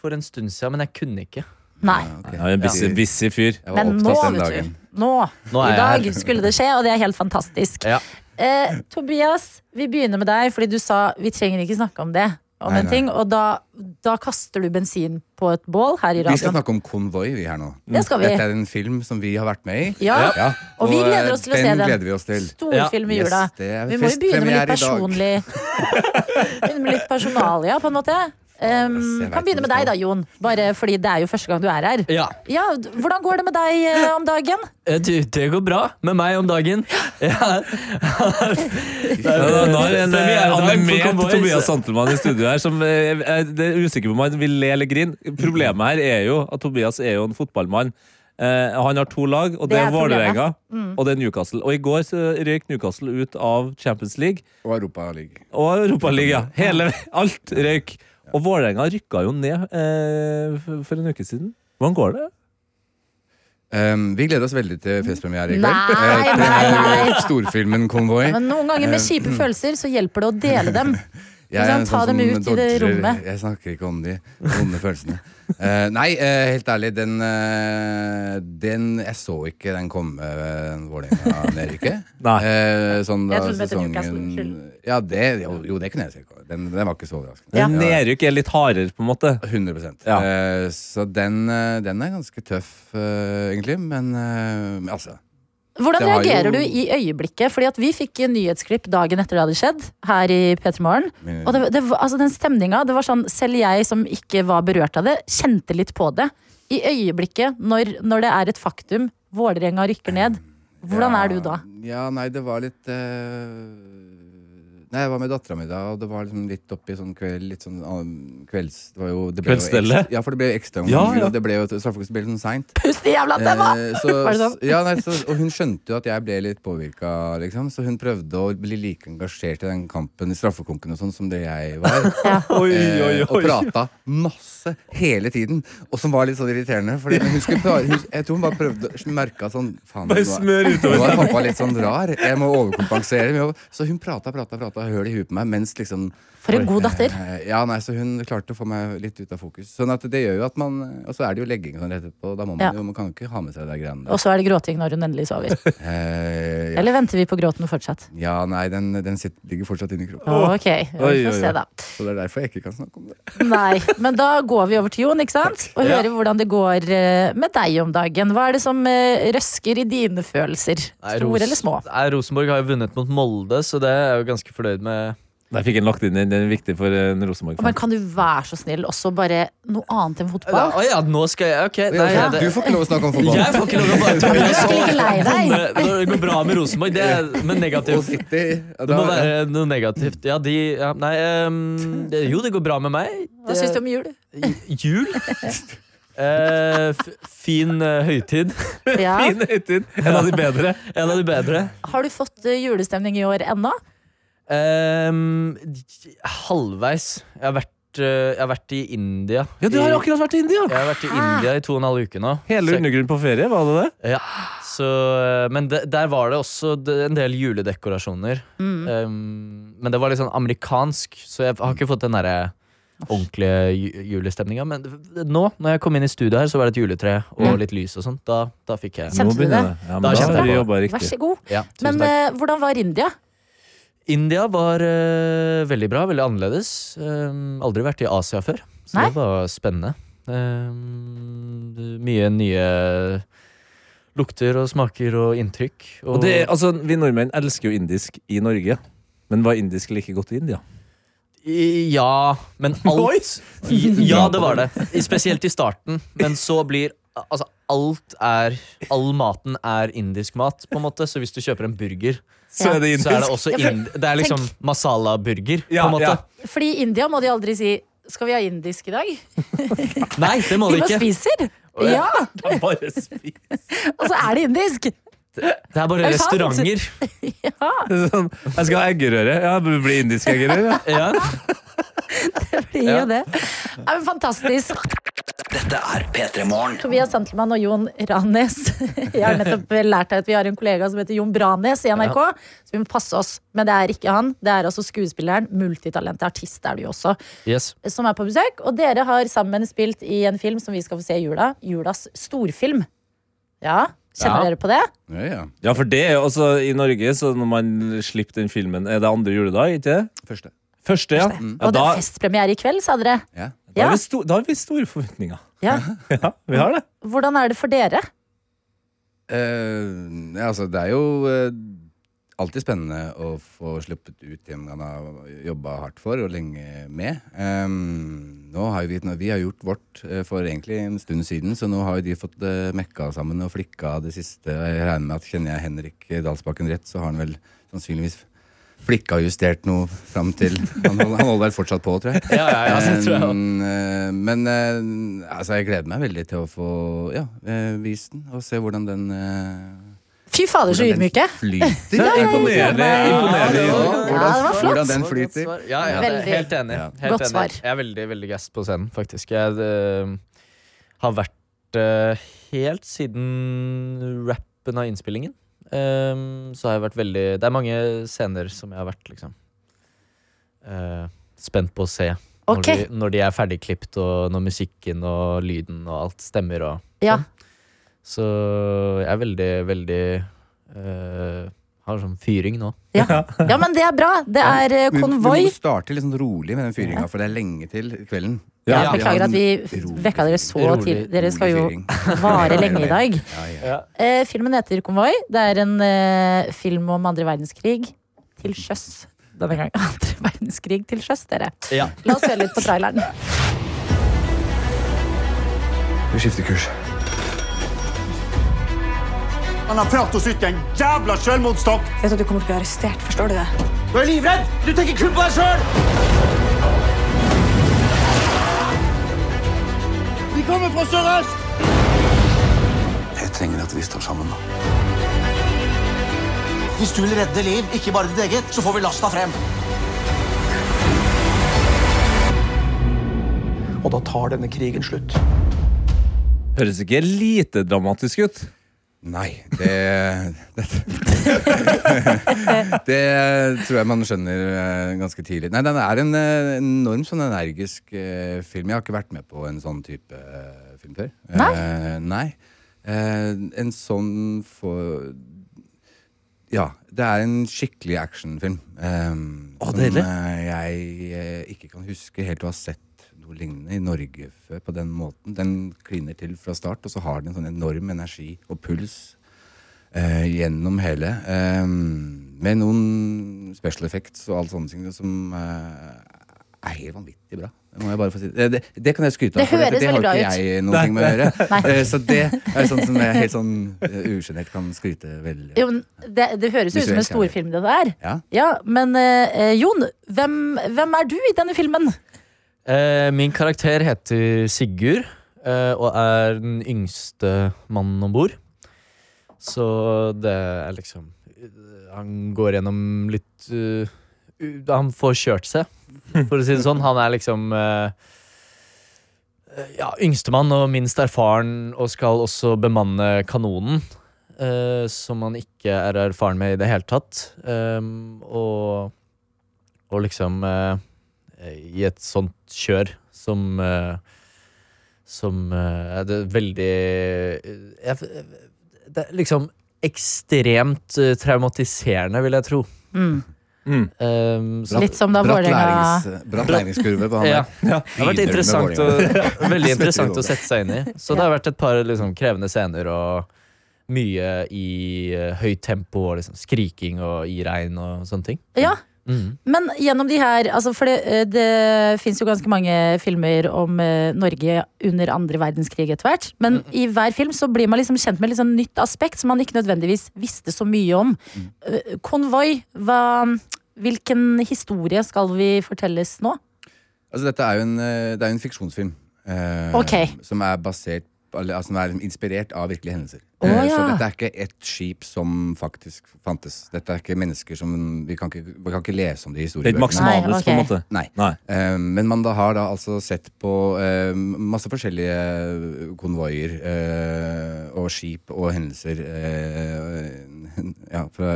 I: for en stund siden, men jeg kunne ikke.
B: Nei.
H: Ok.
C: Ja, en busy,
I: Ja.
C: busy fyr.
H: Jeg var
B: Men nå,
H: opptatt den
B: vet
H: dagen.
B: du. Nå.
I: Nå
B: I
I: er
B: dag
I: jeg her.
B: skulle det skje, og det er helt fantastisk.
I: Ja.
B: Eh, Tobias, vi begynner med deg, fordi du sa vi trenger ikke snakke om det. Om
H: Nei,
B: en
H: nei.
B: ting, og da, da kaster du bensin på et bål her i
H: Vi skal
B: radioen.
H: snakke om konvoi, vi her nå.
B: Det skal vi.
H: Dette er en film som vi har vært med i.
B: Ja, og vi gleder oss til å se den.
H: eh, Den gleder vi oss til.
B: Storfilm i
H: Yes,
B: jula.
H: det er
B: Vi må jo begynne med litt
H: festpremiere i dag.
B: personlig
H: *laughs*
B: Begynne med litt personalia, på en måte. Um,
H: jeg vet
B: kan begynne med
H: hvor
B: deg
H: du skal.
B: da, Jon. Bare fordi det er jo første gang du er her.
J: Ja,
B: Ja, d- Hvordan går det med deg eh, om dagen?
J: eh, du, det går bra med meg om dagen. Ja.
C: Ja, da er det en eh,
J: Premieredag for
C: animert
J: Cowboys.
C: Tobias Santelmann i studio her som eh, er det er usikker på om han vil le eller grine. Problemet her er jo at Tobias er jo en fotballmann. Eh, han har to lag, og det,
B: Det er Mm.
C: er Vålerenga og det er Newcastle. Og i går så røyk Newcastle ut av Champions League
H: Og Europaligaen.
C: og Europaliga. Hele alt røyk. Og Vålerenga rykka jo ned eh, for- for en uke siden. Hvordan går det?
H: Um, vi gleder oss veldig til festpremiere i kveld.
B: Nei,
H: Eh, til
B: nei, nei.
H: *laughs* Storfilmen Konvoi.
B: Men Noen ganger
H: eh,
B: med
H: mm.
B: kjipe følelser så hjelper det å dele
H: *laughs*
B: dem.
H: Jeg
B: Liksom,
H: er en
B: ta dem
H: sånn som
B: ut i det
H: dodger-
B: rommet.
H: Jeg snakker ikke om de vonde følelsene. Eh, nei, eh, helt ærlig, den, eh, den Jeg så ikke den komme, uh,
B: *laughs*
H: Vålerenga-nedrykket.
C: Nei.
H: Eh, sånn da
B: Jeg trodde det het Newcastle,
H: sesongen
B: unnskyld.
H: Ja, det, jo, jo, det kunne jeg se. ikke. Den, den var ikke så overraskende.
B: Ja.
C: Nedrykk er litt hardere, på en måte.
H: 100
C: Ja.
H: Eh, Så den, eh, den er ganske tøff, eh, egentlig. Men eh, men altså
B: Hvordan
H: Det var jo-
B: reagerer du i øyeblikket? Fordi at vi fikk nyhetsklipp dagen etter det hadde skjedd, her i P3 Morgen. Og det, det, var- altså den stemninga, det var sånn selv jeg som ikke var berørt av det, kjente litt på det. I øyeblikket, når, når det er et faktum, Vålerenga rykker ned, hvordan
H: Ja.
B: er du da?
H: Ja, nei, det var litt eh, Nei, jeg var med dattera mi da, og det var liksom litt oppi sånn kveld Litt sånn annen- kvelds... Det var jo, det ble jo
C: Kveldsstellet?
H: ekstra- Ja, for det ble jo ekstra
C: Ja,
H: omganger,
C: ja.
H: og det ble jo straffekonkurranse ble litt sånn seint.
B: Pust i jævla tema!
H: Eh, så,
B: *laughs* Var det sånn?
H: Ja, nei, så, og hun skjønte jo at jeg ble litt påvirka, liksom, så hun prøvde å bli like engasjert i den kampen i straffekonken og sånn som det jeg
B: *laughs*
H: var.
C: Oi,
H: Eh,
C: oi,
H: Og
C: oi.
H: prata masse hele tiden, og som var litt sånn irriterende. Fordi hun skulle bare, hun, jeg tror hun bare prøvde å merka sånn Faen, nå
C: Bare
H: er
C: smør
H: nå
C: utover.
H: er pappa litt sånn rar. Jeg må overkompensere. med å- Så hun prata, prata, prata, høl i huet på meg mens liksom
B: For en god datter.
H: Eh, Ja, nei, så hun klarte å få meg litt ut av fokus. Sånn at det gjør jo at man Og så er det jo legging og sånn rett etterpå. og Da må man
B: Ja.
H: jo Man kan jo ikke ha med seg de greiene
B: Og
H: der.
B: så er det gråting når hun endelig sover.
H: Eh, *laughs* ja.
B: Eller venter vi på gråten fortsatt?
H: ja, nei, den, den sitter, ligger fortsatt inni kroppen.
B: Ok, vi
C: Oi, oi,
B: får se
C: oi.
B: da.
H: Så det er derfor jeg ikke kan snakke om det.
B: Nei, men da går vi over til Jon, ikke sant? Og hører hvordan det går eh, med deg om dagen. Hva er det som eh, røsker i dine følelser?
I: Nei,
B: Store
I: Ros-
B: eller små?
I: Nei, Rosenborg har jo vunnet mot Molde, så det er jeg jo ganske fornøyd med.
C: Der fikk en lagt inn den. Den er viktig for en
B: Men
C: Rosenborg-fan.
B: kan du være så snill også bare noe annet enn
I: Å
B: fotball?
I: ja, nå skal jeg Ok, nei,
H: Ja,
I: det,
H: du får ikke lov å snakke om fotball.
I: jeg får ikke lov å *laughs* bare
B: Jeg er ikke lei deg.
I: Når det går bra med Rosenborg, det er men
H: Og
I: negativt.
H: City ja,
I: Det
H: da,
I: må være noe negativt. Ja, de ja, Nei, ehm, det, jo, det går bra med meg.
B: Hva syns du om
I: *laughs*
B: jul?
I: J- Jul. Eh, f fin eh, høytid.
B: Ja.
C: Fin høytid. En av de bedre.
I: En av de bedre.
B: Har du fått eh, julestemning i år ennå?
I: Ehm, j- halvveis. Jeg har vært, eh, jeg har vært i India.
C: Ja, du har
I: i-
C: akkurat vært i India!
I: Jeg har vært i
B: Hæ?
I: India i to og en halv uke nå.
C: Hele
I: Så-
C: undergrunnen på ferie, var det det?
I: Ja. Så, eh, men de, der var det også d- en del juledekorasjoner.
B: Mm.
I: Um, men det var litt sånn amerikansk, så jeg har ikke fått den derre ordentlige ju- julestemninga. Men d- nå, når jeg kom inn i studio her, så var det et juletre
C: Mm.
I: og litt lys og sånt. Da, da fikk jeg
B: Kjente
C: Nå
B: du
C: begynner
B: det?
C: Ja, men
I: Da
C: da har
I: kjente jeg
C: vi
I: på
C: jobba
B: Vær
C: riktig.
B: så god.
I: ja, tusen
B: Men
I: takk.
B: eh, hvordan var India?
I: India var eh, veldig bra, veldig annerledes. Um, aldri vært i Asia før, så
B: Nei.
I: det var spennende. Um, det- mye nye lukter og smaker og inntrykk.
C: Og det, er- altså, vi nordmenn elsker jo indisk i Norge. Men var indisk like godt i India?
I: I- Ja,
C: *laughs*
I: men alt I- Ja, det var det. I- Spesielt i starten. Men så blir Altså, alt er All maten er indisk mat, på en måte. Så hvis du kjøper en burger,
C: Så
B: Ja.
C: er det
I: så er det
C: indisk.
I: også
B: Ja, for-
I: ind... Det er liksom masala-burger, på
C: Ja,
I: en måte.
C: ja.
B: Fordi i India må de aldri si skal vi ha indisk i dag?
I: Nei, det må
B: De
I: det
B: bare
I: ikke.
B: spiser! Ja,
C: Bare *laughs* spis.
B: og så er det indisk! *laughs*
I: Det er bare
B: Er det sant?
I: restauranter.
C: Sånn, jeg skal ha eggerøre. Ja, det blir indisk eggerøre. ja.
I: Ja.
B: Det blir jo det. Ja, men fantastisk.
D: Dette er P3 Morgen.
B: Tobias Santelmann og Jon Ranes. *laughs* Jeg har nettopp lært deg at vi har en kollega som heter Jon Branes i NRK. Så vi må passe oss. Men det er ikke han. Det er altså skuespilleren, multitalentet artist er du jo også,
I: Yes.
B: som er på besøk. Og dere har sammen spilt i en film som vi skal få se i jula. Julas storfilm. Ja, kjenner
I: Ja.
B: dere på det?
H: ja, ja.
C: ja, for det er jo altså i Norge, så når man slipper den filmen Er det andre juledag, ikke det?
H: Første.
C: Første, ja.
B: Og
C: ja
B: det
C: da,
B: er festpremiere i kveld, sa dere.
H: Ja.
C: da,
B: Ja.
C: har vi sto, da har vi store forventninger.
B: Ja.
C: Ja, vi har det.
B: Hvordan er det for dere?
H: Eh, ja, altså, det er jo eh, alltid spennende å få sluppet ut det man har jobba hardt for og lenge med. Ehm, nå har jo vi, nå, vi har gjort vårt eh, for egentlig en stund siden, så nå har jo de fått eh, mekka sammen og flikka det siste. Og Jeg regner med at Kjenner jeg Henrik Dalsbakken rett, så har han vel sannsynligvis flikka og justert noe fram til Han holder, han holder vel fortsatt på, tror jeg.
I: Ja, ja, ja,
H: Ähm,
I: det tror jeg også.
H: Men, eh, men eh, altså, jeg gleder meg veldig til å få ja, eh, vist den og se hvordan den eh,
B: Fy fader, så
H: hvordan den
B: ydmyke.
H: flyter.
C: Imponerende. imponerende.
H: Ja,
B: Ja, det var flott.
H: Hvordan den
I: Så godt
H: flyter.
I: svar. Ja, ja, det er
B: Veldig.
I: helt enig.
H: Ja.
I: Helt
B: Godt
I: enig.
B: svar.
I: Jeg er veldig, veldig gass på scenen, faktisk. Jeg eh, har vært eh, helt siden rappen av innspillingen. eh, så har jeg vært veldig Det er mange scener som jeg har vært liksom eh, spent på å se.
B: Ok.
I: Når, de, når de er ferdigklipt, og når musikken og lyden og alt stemmer. Og, sånn.
B: Ja.
I: så jeg er veldig, veldig eh, Har sånn fyring nå.
B: Ja. ja, men det er bra. Det er eh,
H: Vi, vi må
B: konvoi.
H: starte litt sånn rolig med den fyringa, for det er lenge til kvelden.
B: Ja,
H: Ja,
B: beklager
H: ja,
B: at vi
H: rolig-
B: vekka dere så
H: rolig-
B: tidlig. Dere skal jo
H: rolig
B: *laughs* vare
H: fyring.
B: lenge i dag.
H: Ja, ja.
B: Eh, filmen heter Konvoi. Det er en eh, film om andre verdenskrig til sjøs. Denne gang *laughs* andre verdenskrig til sjøs, dere.
J: Ja.
B: La oss høre litt på traileren.
D: Vi skifter kurs.
K: Han har prøvd å sytte en jævla selvmordsstokk.
L: Vet at du kommer til å bli arrestert, forstår du det?
K: Du er livredd! Du tenker kun på deg sjøl! De kommer fra sørøst!
D: Jeg trenger at vi står sammen nå.
K: Hvis du vil redde liv, ikke bare ditt eget, så får vi lasta frem.
M: Og da tar denne krigen slutt.
C: Høres ikke lite dramatisk ut.
H: Nei, det det, det tror jeg man skjønner eh, ganske tidlig. Nei, den er en eh, enormt sånn energisk eh, film. Jeg har ikke vært med på en sånn type eh, film før.
B: Nei?
H: Eh, nei. Eh, en sånn for Ja. Det er en skikkelig actionfilm. Um,
C: Å,
H: som
C: deilig.
H: eh, jeg eh, ikke kan huske helt å ha sett noe lignende i Norge før på den måten. Den kliner til fra start, og så har den en sånn enorm energi og puls eh, gjennom hele. eh, med noen special effects og alle sånne ting som eh, er helt vanvittig bra. Det, må jeg bare få si. det, det, det kan jeg skryte av,
B: Det
H: for
B: høres
H: det, det har
B: veldig bra
H: ikke
B: ut.
H: jeg noen
C: Nei.
H: ting med å gjøre.
B: Nei.
H: Eh, så det er sånn som jeg helt sånn uh, usjenert kan skryte veldig
B: Jo, men det, det høres jo ut som en
H: Visuelt,
B: storfilm, det der.
H: Ja.
B: men eh, Jon, hvem, hvem er du i denne filmen?
I: Eh, min karakter heter Sigurd eh, og er den yngste mannen om bord. Så det er liksom eh, Han går gjennom litt eh, u- Han får kjørt seg, for å si det sånn. Han er liksom eh, eh, ja, yngstemann og minst erfaren, og skal også bemanne kanonen. eh, som han ikke er erfaren med i det hele tatt. Ehm, og, og liksom eh, i et sånt kjør som eh, Som eh, er det veldig eh, jeg, Det er liksom ekstremt eh, traumatiserende, vil jeg tro.
B: Mm.
I: Ehm, så-
B: Litt som da
H: Bratt
B: Vålerenga
H: lærings- bratt læringskurve
C: *laughs*
H: på han
I: ja.
H: der.
I: Det har vært
H: Begynner med
I: interessant å,
H: Vålerenga.
I: *laughs* veldig interessant
H: Slutter
I: å
H: i
I: sette seg inn i. Så det har vært et par liksom, krevende scener og mye i eh, høyt tempo og liksom, skriking og i regn og sånne ting.
B: Ja,
I: Mm.
B: men gjennom de her altså For det, eh, det fins jo ganske mange filmer om eh, Norge under andre verdenskrig etter hvert. Men
C: Mm.
B: i hver film så blir man liksom kjent med et litt sånn nytt aspekt som man ikke nødvendigvis visste så mye om.
C: Mm.
B: Eh, Konvoi, hva, hvilken historie skal vi fortelles nå?
H: Altså, dette er jo en, eh, det er jo en fiksjonsfilm. eh,
B: Ok.
H: Som er basert eller, altså, som er liksom inspirert av virkelige hendelser.
B: Å,
H: Eh, Så
B: ja.
H: dette er ikke et skip som faktisk fantes. Dette er ikke mennesker som Vi kan ikke, vi kan ikke lese om de
C: Det er
H: historiene.
C: ikke maksimalus,
B: Nei, ok.
C: på en måte.
H: Nei.
C: Nei.
H: Eh, Men man da har da altså sett på eh, masse forskjellige eh, konvoier eh, og skip og hendelser eh, *laughs* ja, fra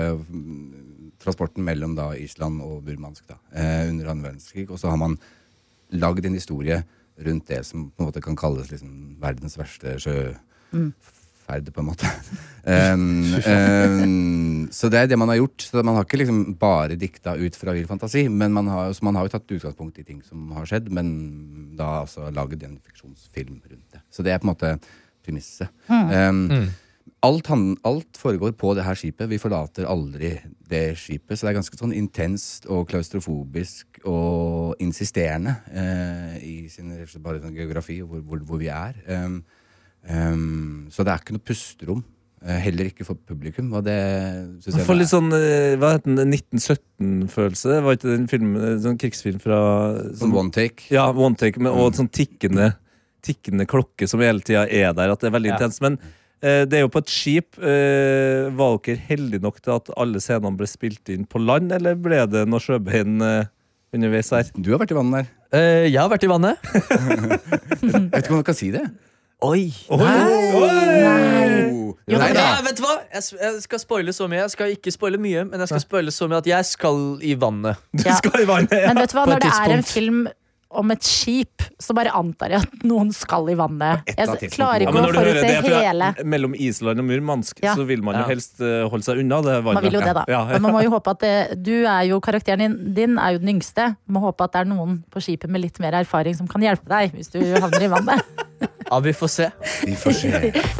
H: transporten mellom da Island og Burmansk da, eh, under annen verdenskrig. Og så har man lagd en historie rundt det som på en måte kan kalles liksom verdens verste sjøferd, på en måte. *laughs* Um, um, så det er det man har gjort. Så man har ikke liksom bare dikta ut fra vill fantasi, men man har, så man har jo tatt utgangspunkt i ting som har skjedd, men da altså lagd en fiksjonsfilm rundt det. Så det er på en måte premisset. Um, Alt, han, alt foregår på det her skipet. Vi forlater aldri det skipet. Så det er ganske sånn intenst og klaustrofobisk og insisterende eh, i sin rett og slett bare sånn geografi og hvor, hvor, hvor vi er. Um, um, så det er ikke noe pusterom. eh, Heller ikke for publikum. Og det synes
C: Man får litt
H: jeg
C: sånn eh, hva heter den, 1917-følelse. Var ikke det en film, eh, sånn krigsfilm fra
H: Sånn one take.
C: Ja, one take, men, og sånn tikkende, tikkende klokke som hele tida er der. At det er veldig
I: Ja.
C: intenst. Men eh, det er jo på et skip. Eh, var dere heldige nok til at alle scenene ble spilt inn på land, eller ble det noe sjøbein eh, underveis her?
H: Du har vært i vannet der.
I: Eh, jeg har vært i vannet.
H: Jeg vet ikke om du kan si det.
I: Oi!
C: Oi! Oi!
H: Oh,
I: Jo,
H: nei
I: men
H: da.
I: jeg, vet du hva? Jeg, s- jeg skal spoile så mye. Jeg skal ikke spoile mye, men jeg skal spoile så mye at jeg skal i vannet.
C: Du *laughs* skal i vannet!
B: Men vet du hva,
I: På et
B: når det er en
I: tidspunkt.
B: film om et skip, så bare antar jeg at noen skal i vannet. Jeg klarer
C: Ja,
B: ikke å
C: men når du hører
B: forutse
C: det fra,
B: hele
C: mellom Island og Murmansk,
B: Ja.
C: så vil man jo
B: Ja.
C: helst eh, holde seg unna det vannet.
B: Man vil jo det, da.
C: Ja, ja.
B: Men man må jo håpe at det, du er jo karakteren din, din er jo den yngste. Man må håpe at det er noen på skipet med litt mer erfaring som kan hjelpe deg hvis du havner i vannet.
I: Ja, vi får se.
D: Vi får se.
B: *laughs*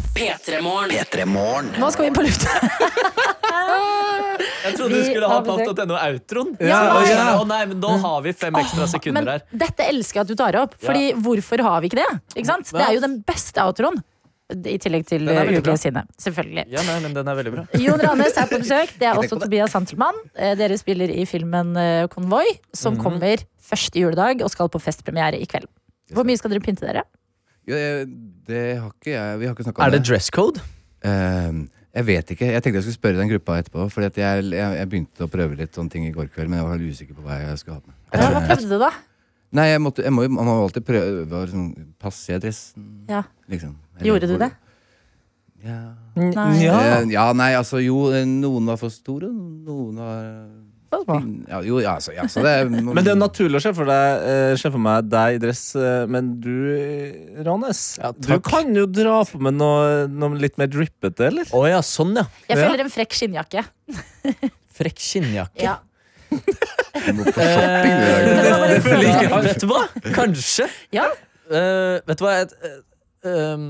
B: Nå skal vi inn på lufta.
I: Jeg trodde du
B: Vi
I: skulle ha
B: avbryter-
I: palt.no outroen.
B: Ja,
I: Så jeg
B: ja.
I: skjønner, Å nei, men da har vi fem ekstra
B: Men
I: sekunder her.
B: dette elsker jeg at du tar opp, Fordi hvorfor har vi ikke det? Ikke sant? Det er jo den beste outroen. I tillegg til
I: Den er veldig bra.
B: UG sine, selvfølgelig.
I: Ja, nei, men den er veldig bra.
B: *laughs* Jon Ranes er på besøk. Det er også Tobias Santelmann. Eh, Dere spiller i filmen eh, Konvoi, som
H: Mhm.
B: kommer første juledag og skal på festpremiere i kveld. Hvor mye skal dere pynte dere?
H: Jo, jeg- det har ikke jeg Vi har ikke snakka om
I: Er
H: det. Ehm,
I: det dress code?
H: jeg vet ikke. Jeg tenkte jeg skulle spørre den gruppa etterpå. Fordi at jeg, jeg, jeg begynte å prøve litt sånne ting i går kveld, men jeg var veldig usikker på hva jeg skulle ha på meg. Jeg
B: Ja,
H: tror
B: hva
H: jeg-
B: prøvde du, da?
H: Nei, jeg måtte, jeg må, jo- man må jo alltid prøve å liksom, passe i dressen.
B: Ja.
H: Liksom. Eller
B: Gjorde du
H: hvor-
B: det?
H: Ja.
B: Nei.
C: Ah.
H: Ja. ja, nei, altså jo, noen var for store, noen var ja, Jo, ja, altså, ja, så det
C: Ah. *laughs* Men det er naturlig å se for, deg, eh, se for meg deg i dress, eh, men du, eh, Ranes Du kan jo dra på med noe, noe litt mer drippete, eller?
I: Å ja, sånn, ja.
B: Jeg føler en frekk skinnjakke.
I: Frekk skinnjakke.
B: Ja.
I: Eh, det føler *laughs* jeg ikke. Vet du hva? Kanskje.
B: Ja.
I: Eh, vet du hva? Et, eh, um,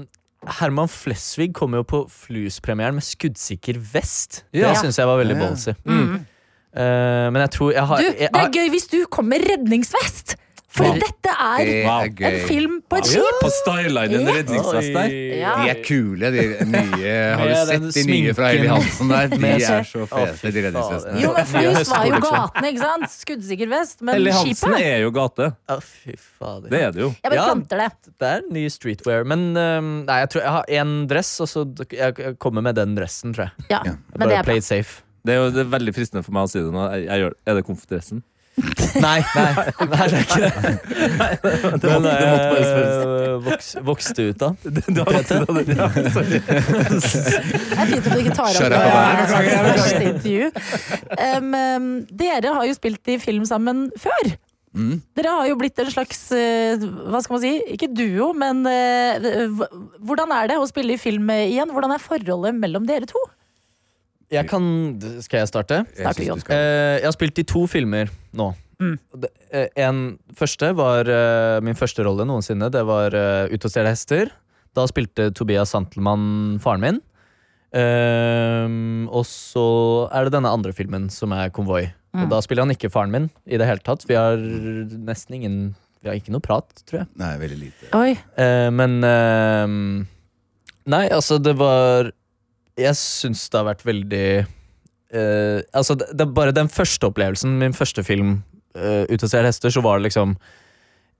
I: Herman Flesvig kom jo på Flus-premieren med skuddsikker vest.
B: Ja.
I: Det syns jeg var veldig
B: Ja, ja.
I: ballsy.
B: Mm.
I: Eh, men jeg tror jeg har
B: Du,
I: jeg,
B: det er gøy hvis du kommer med redningsvest! For
I: Wow.
B: dette er en film på et skip!
C: På stylinen
B: Ja.
C: redningsvest der.
B: Ja.
H: De er kule, de nye. Har
C: Med
H: du
C: den
H: sett de nye fra Eli
C: sminken.
H: Hansen der? De
C: Med
H: er
C: seg-
H: så
C: Å,
H: fete, de redningsvestene.
B: Jo, men Flus var jo gatene, ikke sant? Skuddsikker vest, men
I: Ellie Hansen
B: skipet
C: er jo gate.
I: Ja, fy fader.
C: Det er det jo.
B: Jeg bare planter det.
I: Det er ny streetwear. Men øhm, nei, jeg tror jeg har én dress, og så d- jeg jeg kommer med den dressen, tror jeg.
B: Ja, men det
I: Bare
B: er bra.
I: play it safe.
C: Det er jo det er veldig fristende for meg å si det nå. Jeg, jeg gjør, er det konfidressen?
I: Nei, nei, nei, det er ikke det.
C: *laughs* det måtte-
I: Den
C: det måtte bare spørres.
I: øh, voks, vokste ut av.
C: Du har vokst ut av *laughs* det, ja.
B: Det er fint at du ikke tar opp
I: Shut
B: det
I: up.
B: i
I: Nei, jeg beklager.
B: første intervju. Um, um, dere har jo spilt i film sammen før.
I: Mm.
B: Dere har jo blitt en slags eh, Hva skal man si? Ikke duo, men eh, hv- Hvordan er det å spille i film igjen? Hvordan er forholdet mellom dere to?
I: Jeg kan Skal jeg starte?
B: Start, Jon.
I: Eh, jeg har spilt i to filmer nå. Det- eh, En første var eh, min første rolle noensinne. Det var eh, Ut og stjele hester. Da spilte Tobias Santelmann faren min. Ehm, og så er det denne andre filmen, som er Konvoi.
J: Mm.
I: Og da spiller han ikke faren min i det hele tatt. Vi har nesten ingen Vi har ikke noe prat, tror jeg.
H: Nei, veldig lite.
B: Oi.
I: Eh, men ehm, Nei, altså, det var Jeg syns det har vært veldig eh, Altså, det, det er bare den første opplevelsen, min første film, uh, 'Ute og ser hester', så var det liksom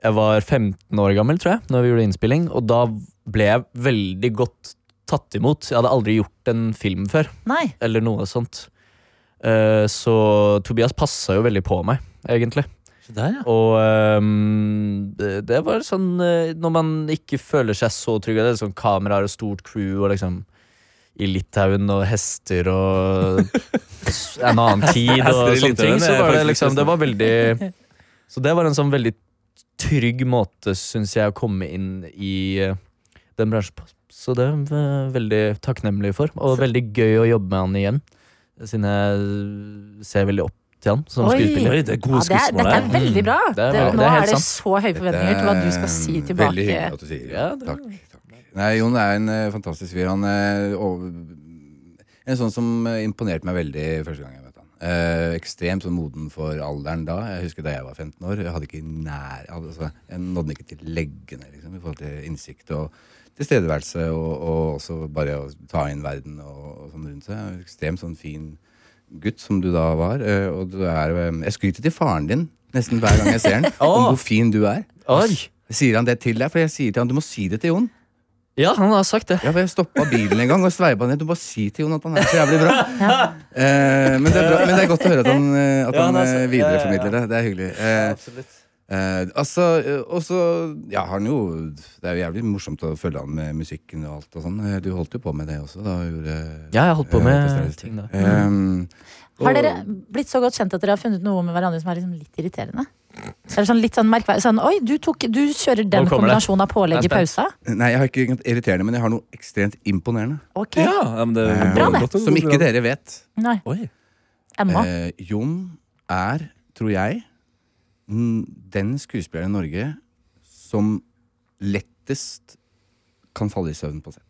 I: Jeg var 15 år gammel, tror jeg, når vi gjorde innspilling, og da ble jeg veldig godt tatt imot. Jeg hadde aldri gjort en film før,
B: Nei.
I: eller noe sånt. Eh, så Tobias passa jo veldig på meg, egentlig. Og ehm, det, det var sånn eh, Når man ikke føler seg så trygg Det er sånn kameraer og stort crew og liksom i Litauen og hester
C: *laughs*
I: og s- en annen tid og
C: Hester i
I: sånne
C: Litauen
I: ting. Så
C: er
I: var det
C: faktisk
I: liksom Det
C: nesten-
I: var veldig Så det var en sånn veldig trygg måte, syns jeg, å komme inn i eh, den bransjen på. Så det er jeg veldig takknemlig for, og veldig gøy å jobbe med han igjen. Siden jeg ser veldig opp til han som
B: Oi.
I: skuespiller.
B: Oi, det er gode Ja, det er- skuespillere. dette er veldig bra.
I: Det er
B: Det-
I: veldig-
B: nå
I: det
B: er
I: helt
B: det
I: sant.
B: så høye forventninger til hva du skal si
H: Det er
B: tilbake.
H: Veldig hyggelig at du sier ja.
B: Ja, det-
H: Takk. takk. Nei, Jon er en eh, fantastisk fyr. Han eh, over- En sånn som eh, imponerte meg veldig første gang jeg møtte han. Eh, ekstremt sånn moden for alderen da. Jeg husker da jeg var 15 år. Jeg hadde ikke nær jeg hadde, altså, Jeg nådde ikke til leggene liksom, i forhold til innsikt og tilstedeværelse. Og, og også bare å ta inn verden og, og sånn rundt seg. Ekstremt sånn fin gutt som du da var. eh, Og du er eh, Jeg skryter til faren din nesten hver gang jeg
B: *laughs*
H: ser den, om hvor fin du er. Sier han det til deg? For jeg sier til han du må si det til Jon.
I: Ja, han har sagt det.
H: Ja, for Jeg stoppa bilen en gang og sveipa ned. Du må si til Jon at han er så jævlig bra. Eh, men, det er bra men det er godt å høre at han, eh, at
I: Ja,
H: han
I: han er
H: eh,
I: så- ja, ja, ja.
H: videreformidler det. Det er hyggelig. Eh, eh, altså, eh, og så ja, har han jo Det er jo jævlig morsomt å følge han med musikken og alt og sånn. Eh, Du holdt jo på med det også da? og Gjorde,
I: Ja, jeg holdt på
H: eh,
I: med
H: orkestrert.
I: ting da.
H: Eh,
B: Har
H: og-
B: dere blitt så godt kjent at dere har funnet noe med hverandre som er liksom litt irriterende? Eller sånn litt sånn merkverdig sånn, Oi, du, tok, du kjører den
H: Nå kommer det.
B: kombinasjonen av pålegg i
H: Jeg er
B: pausa.
H: spent. Nei, jeg har ikke noe irriterende, men jeg har noe ekstremt imponerende.
B: Ok. Ja,
H: Eh,
B: Bra, det.
H: Som ikke dere vet.
B: Nei. Emma.
H: Eh, Jon er, tror jeg, n- den skuespilleren i Norge som lettest kan falle i søvn på sett.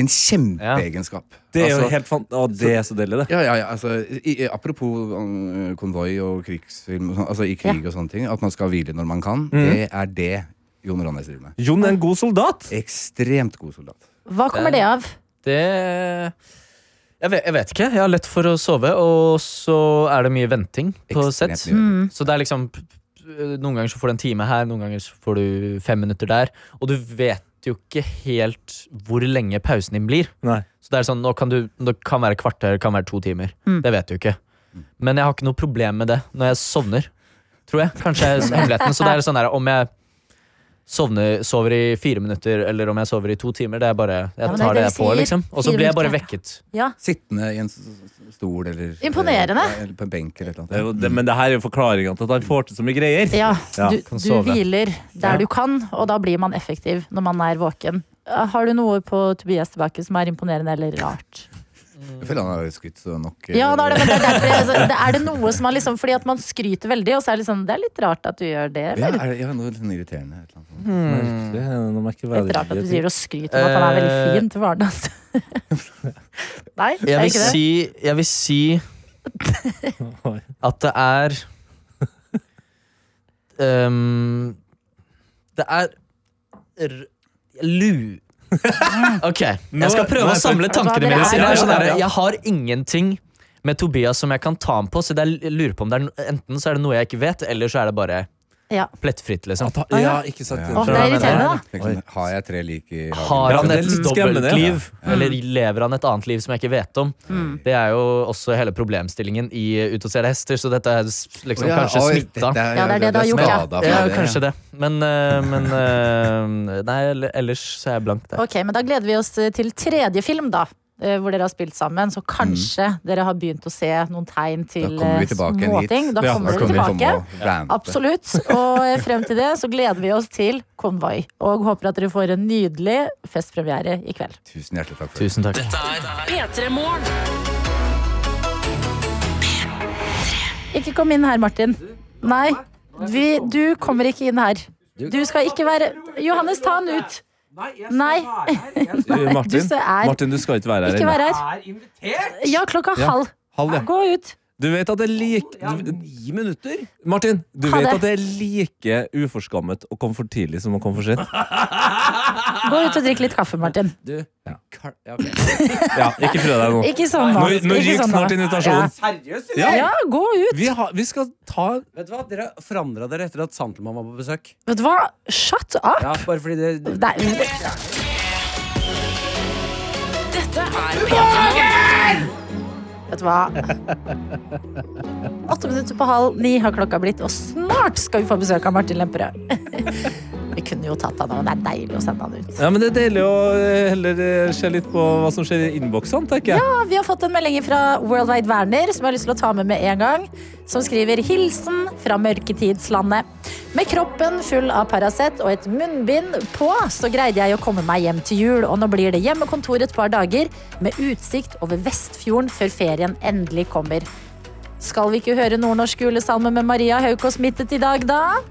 H: En kjempeegenskap.
C: Det er jo
H: Altså,
C: helt fan... Å, det er så deilig, det.
H: Ja, ja, ja, altså, i, i- apropos um, konvoi og krigsfilm og sånn, altså i krig og sånne ting, at man skal hvile når man kan,
C: Mhm.
H: det er det Jon Ronnes driver med.
C: Jon er en god soldat.
H: Ekstremt god soldat.
B: Hva kommer det av?
I: Det jeg vet, jeg vet ikke. Jeg har lett for å sove, og så er det mye venting på sett.
H: mye venting.
I: Så det er liksom p- p- Noen ganger så får du en time her, noen ganger så får du fem minutter der. Og du vet jo ikke helt hvor lenge pausen din blir. Så det er sånn, nå kan du, det kan være et kvarter, det kan være to timer.
J: Mm.
I: Det vet du ikke. Men jeg har ikke noe problem med det når jeg sovner. Tror jeg. Kanskje er hemmeligheten. Så det er sånn der, om jeg sovner, sover i fire minutter, eller om jeg sover i to timer, det er bare
B: Ja, men
I: Jeg
B: det er
I: tar
B: det
I: det
B: vi
I: jeg får,
B: sier.
I: liksom. Og så
B: Fire
I: blir jeg bare
B: minutter.
I: vekket.
B: Ja.
H: Sittende i en s- s- stol eller
B: Imponerende.
H: Eller på en benk eller et eller
C: Det er jo det, men det her er jo forklaringa til at han får til så mye greier.
B: Ja,
C: Ja.
B: du, du hviler der du kan, og da blir man effektiv når man er våken. Eh, Har du noe på Tobias tilbake som er imponerende eller rart?
H: annet. Jeg føler han har skutt så nok.
B: Ja, da er det, men det er, derfor, jeg- altså, det er det noe som er liksom Fordi at man skryter veldig, og så er det liksom Det er litt rart at du gjør det,
H: Ja,
B: eller?
H: er det, ja, noe litt sånn irriterende. Et eller annet.
C: Merkelig, Nå må jeg ikke være
B: Litt rart at du
C: irritert.
B: sier og skryter om at han er
H: Eh.
B: veldig fin til varen
H: *laughs*
B: hans. Nei, det
I: Jeg
B: er
I: vil
B: ikke det.
I: si Jeg vil si at det er ehm, Det er r lu...
B: Mm.
I: Ok, jeg skal prøve å samle tankene mine. Siden det er sånn der, jeg har ingenting med Tobias som jeg kan ta ham på, så det er, jeg lurer på om det er no- enten så er det noe jeg ikke vet, eller så er det bare
B: Ja.
I: plettfritt, liksom.
C: Ja, ikke sant.
H: Å, det er
B: irriterende,
H: Liksom, har jeg tre lik i hagen?
I: Har han et dobbeltliv?
H: Ja.
I: Eller lever han et annet liv som jeg ikke vet om?
H: Mm.
I: Det er jo også hele problemstillingen i Ut og ser hester, så dette er s- liksom
H: Å ja,
I: kanskje
H: oi,
I: smitta.
H: dette er- Ja, det er det det har gjort, ja. skada for
I: ja.
H: det, ja.
I: Kanskje det. Men, eh, men eh, Nei, eller- ellers så er jeg blank der.
B: Ok, men da gleder vi oss eh, til tredje film, da. eh, Hvor dere har spilt sammen. Så kanskje dere har begynt å se noen tegn til
H: Mm. Da kommer vi
B: eh,
H: tilbake igjen hit.
B: småting. Da
H: Ja,
B: kommer
H: da
B: dere
H: kommer vi
B: tilbake.
H: til å rante.
B: Absolutt. Og eh, frem til det så gleder vi oss til Konvoi. Og håper at dere får en nydelig festpremiere i kveld.
H: Tusen hjertelig takk for
I: Tusen takk.
A: P3 Morgen.
B: Ikke kom inn her, Martin. Nei, vi, du kommer ikke inn her. Du skal ikke være Johannes, ta han ut! Nei.
C: Eh,
B: Nei, du
C: Martin,
B: så er
C: Martin, du skal ikke være her
B: Ikke vær
C: ennå.
B: her. Ja, klokka
C: Ja,
B: halv.
C: halv, ja.
B: Gå ut.
C: Du vet at det er like Ni minutter? Martin, du
B: Ha
C: vet
B: det.
C: at det er like uforskammet å komme for tidlig som å komme for sent?
B: Gå ut og drikk litt kaffe, Martin.
C: Ja, ikke prøv deg nå.
B: Ikke sånn nå.
C: Nå, nå
B: Ikke
C: ryker
B: sånn nå.
C: snart invitasjonen.
N: Seriøst,
B: Ja. ja, gå ut.
C: Vi, har, vi skal ta
N: Vet du hva, Dere forandra dere etter at Santelmann var på besøk.
B: Vet du hva? Shut up!
N: Ja, bare fordi det
B: Nei,
A: Dette er P3 Morgen.
B: vet du hva? Åtte minutter på halv ni har klokka blitt, og snart skal vi få besøk av Martin Lemperød. *laughs* Vi kunne jo tatt han, men det er deilig å sende han ut.
C: Ja, men Det er deilig å eh, heller eh, se litt på hva som skjer i innboksene, tenker jeg.
B: Ja, Vi har fått en melding fra Worldwide Werner som jeg har lyst til å ta med med en gang. Som skriver 'Hilsen fra mørketidslandet'. Med kroppen full av Paracet og et munnbind på, så greide jeg å komme meg hjem til jul. Og nå blir det hjemmekontor et par dager med utsikt over Vestfjorden før ferien endelig kommer. Skal vi ikke høre nordnorsk julesalme med Maria Haukås Mittet i dag, da?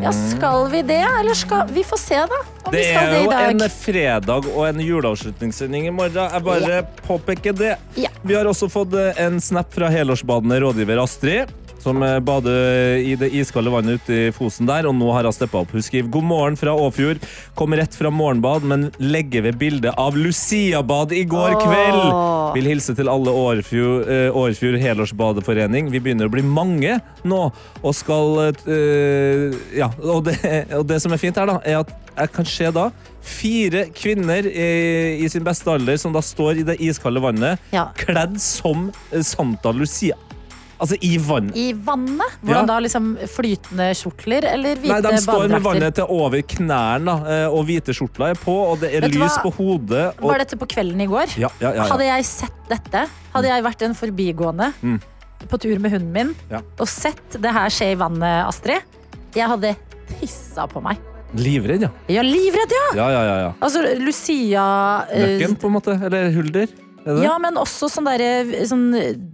B: Ja, skal vi det, eller skal Vi får se, da. Om
C: Det
B: vi skal
C: er
B: det i
C: jo en
B: dag.
C: fredag og en juleavslutningssending i morgen. Jeg bare påpeker det. Vi har også fått eh, en snap fra helårsbadende rådgiver Astrid. Som eh, bader i det iskalde vannet ute i Fosen der, og nå har hun steppa opp. Hun skriver god morgen fra Åfjord. Kom rett fra morgenbad, men legger ved bildet av Luciabad i
O: Åh.
C: går kveld. Vil hilse til alle Årfjord, eh, Årfjord helårsbadeforening. Vi begynner å bli mange nå, og skal eh, Ja, og det, og det som er fint her, da, er at jeg kan se da fire kvinner eh, i sin beste alder som da står i det iskalde vannet,
B: Ja.
C: kledd som eh, Santa Lucia. Altså i vann.
B: I vannet?
C: Ja.
B: Hvordan da? liksom Flytende kjortler eller hvite
C: Nei, de står med
B: badedrakter?
C: vannet til over knærne, da, eh, og hvite skjortler er på, og det er
B: Vet du
C: lys
B: hva?
C: på hodet. Og...
B: Var dette på kvelden i går?
C: Ja, ja, ja, ja.
B: Hadde jeg sett dette, hadde jeg vært en forbigående,
C: Mm.
B: vært på tur med hunden min
C: Ja.
B: og sett det her skje i vannet, Astrid. Jeg hadde pissa på meg.
C: Livredd, ja.
B: Jeg er livredd, ja!
C: Ja, ja, ja. ja.
B: Altså, Lucia eh,
C: Nøkken, på en måte. Eller Hulder. Er det det?
B: Ja, men også sånn derre sånn,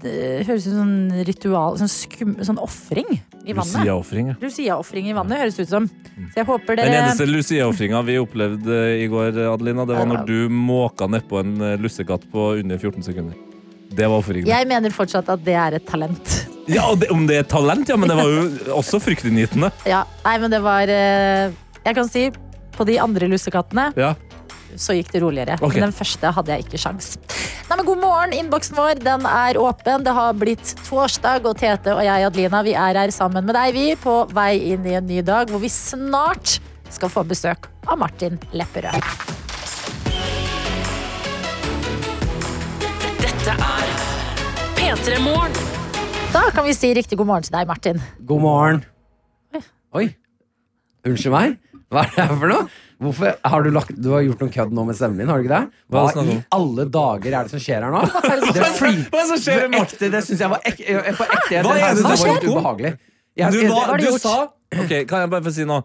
B: det Høres ut som sånn ritual Sånn, skum, sånn offring i vannet.
C: Lucia-ofring, ja.
B: Lucia-offring i vannet høres det ut som. Så jeg håper
C: Mm. Den
B: dere
C: eneste Lucia-ofringa vi opplevde eh, i går, Adelina, det var når du måka nedpå en eh, lussekatt på under 14 sekunder. Det var ofringende.
B: Jeg mener fortsatt at det er et talent.
C: Ja, og det, om det er et talent, ja, men det var jo også fryktinngytende.
B: Ja, nei, men det var eh, Jeg kan si på de andre lussekattene
C: Ja.
B: så gikk det roligere.
C: Ok.
B: Men den første hadde jeg ikke sjans. Nei, men god morgen, innboksen vår den er åpen. Det har blitt torsdag, og Tete og jeg, Adelina, vi er her sammen med deg, vi, på vei inn i en ny dag, hvor vi snart skal få besøk av Martin Lepperød.
A: Dette er P3 Morgen.
B: Da kan vi si riktig god morgen til deg, Martin.
I: God morgen. Oi. Unnskyld meg? Hva er det her for noe? Hvorfor, har du, lagt, du har gjort noe kødd nå med stemmen din, har du ikke det? Hva
C: Hva snakker
I: i
C: du om?
I: alle dager er det som skjer her nå? Det er
C: Hva er
I: fly-
C: det som skjer med
I: Det er ekte, Det syns jeg var ek, jeg- på ekte.
C: Hva er det som
I: synes jeg var
C: skjer?
I: litt ubehagelig. Jeg-
C: Du,
I: jeg-
C: var,
I: det-
C: du sa Ok, Kan jeg bare få si noe?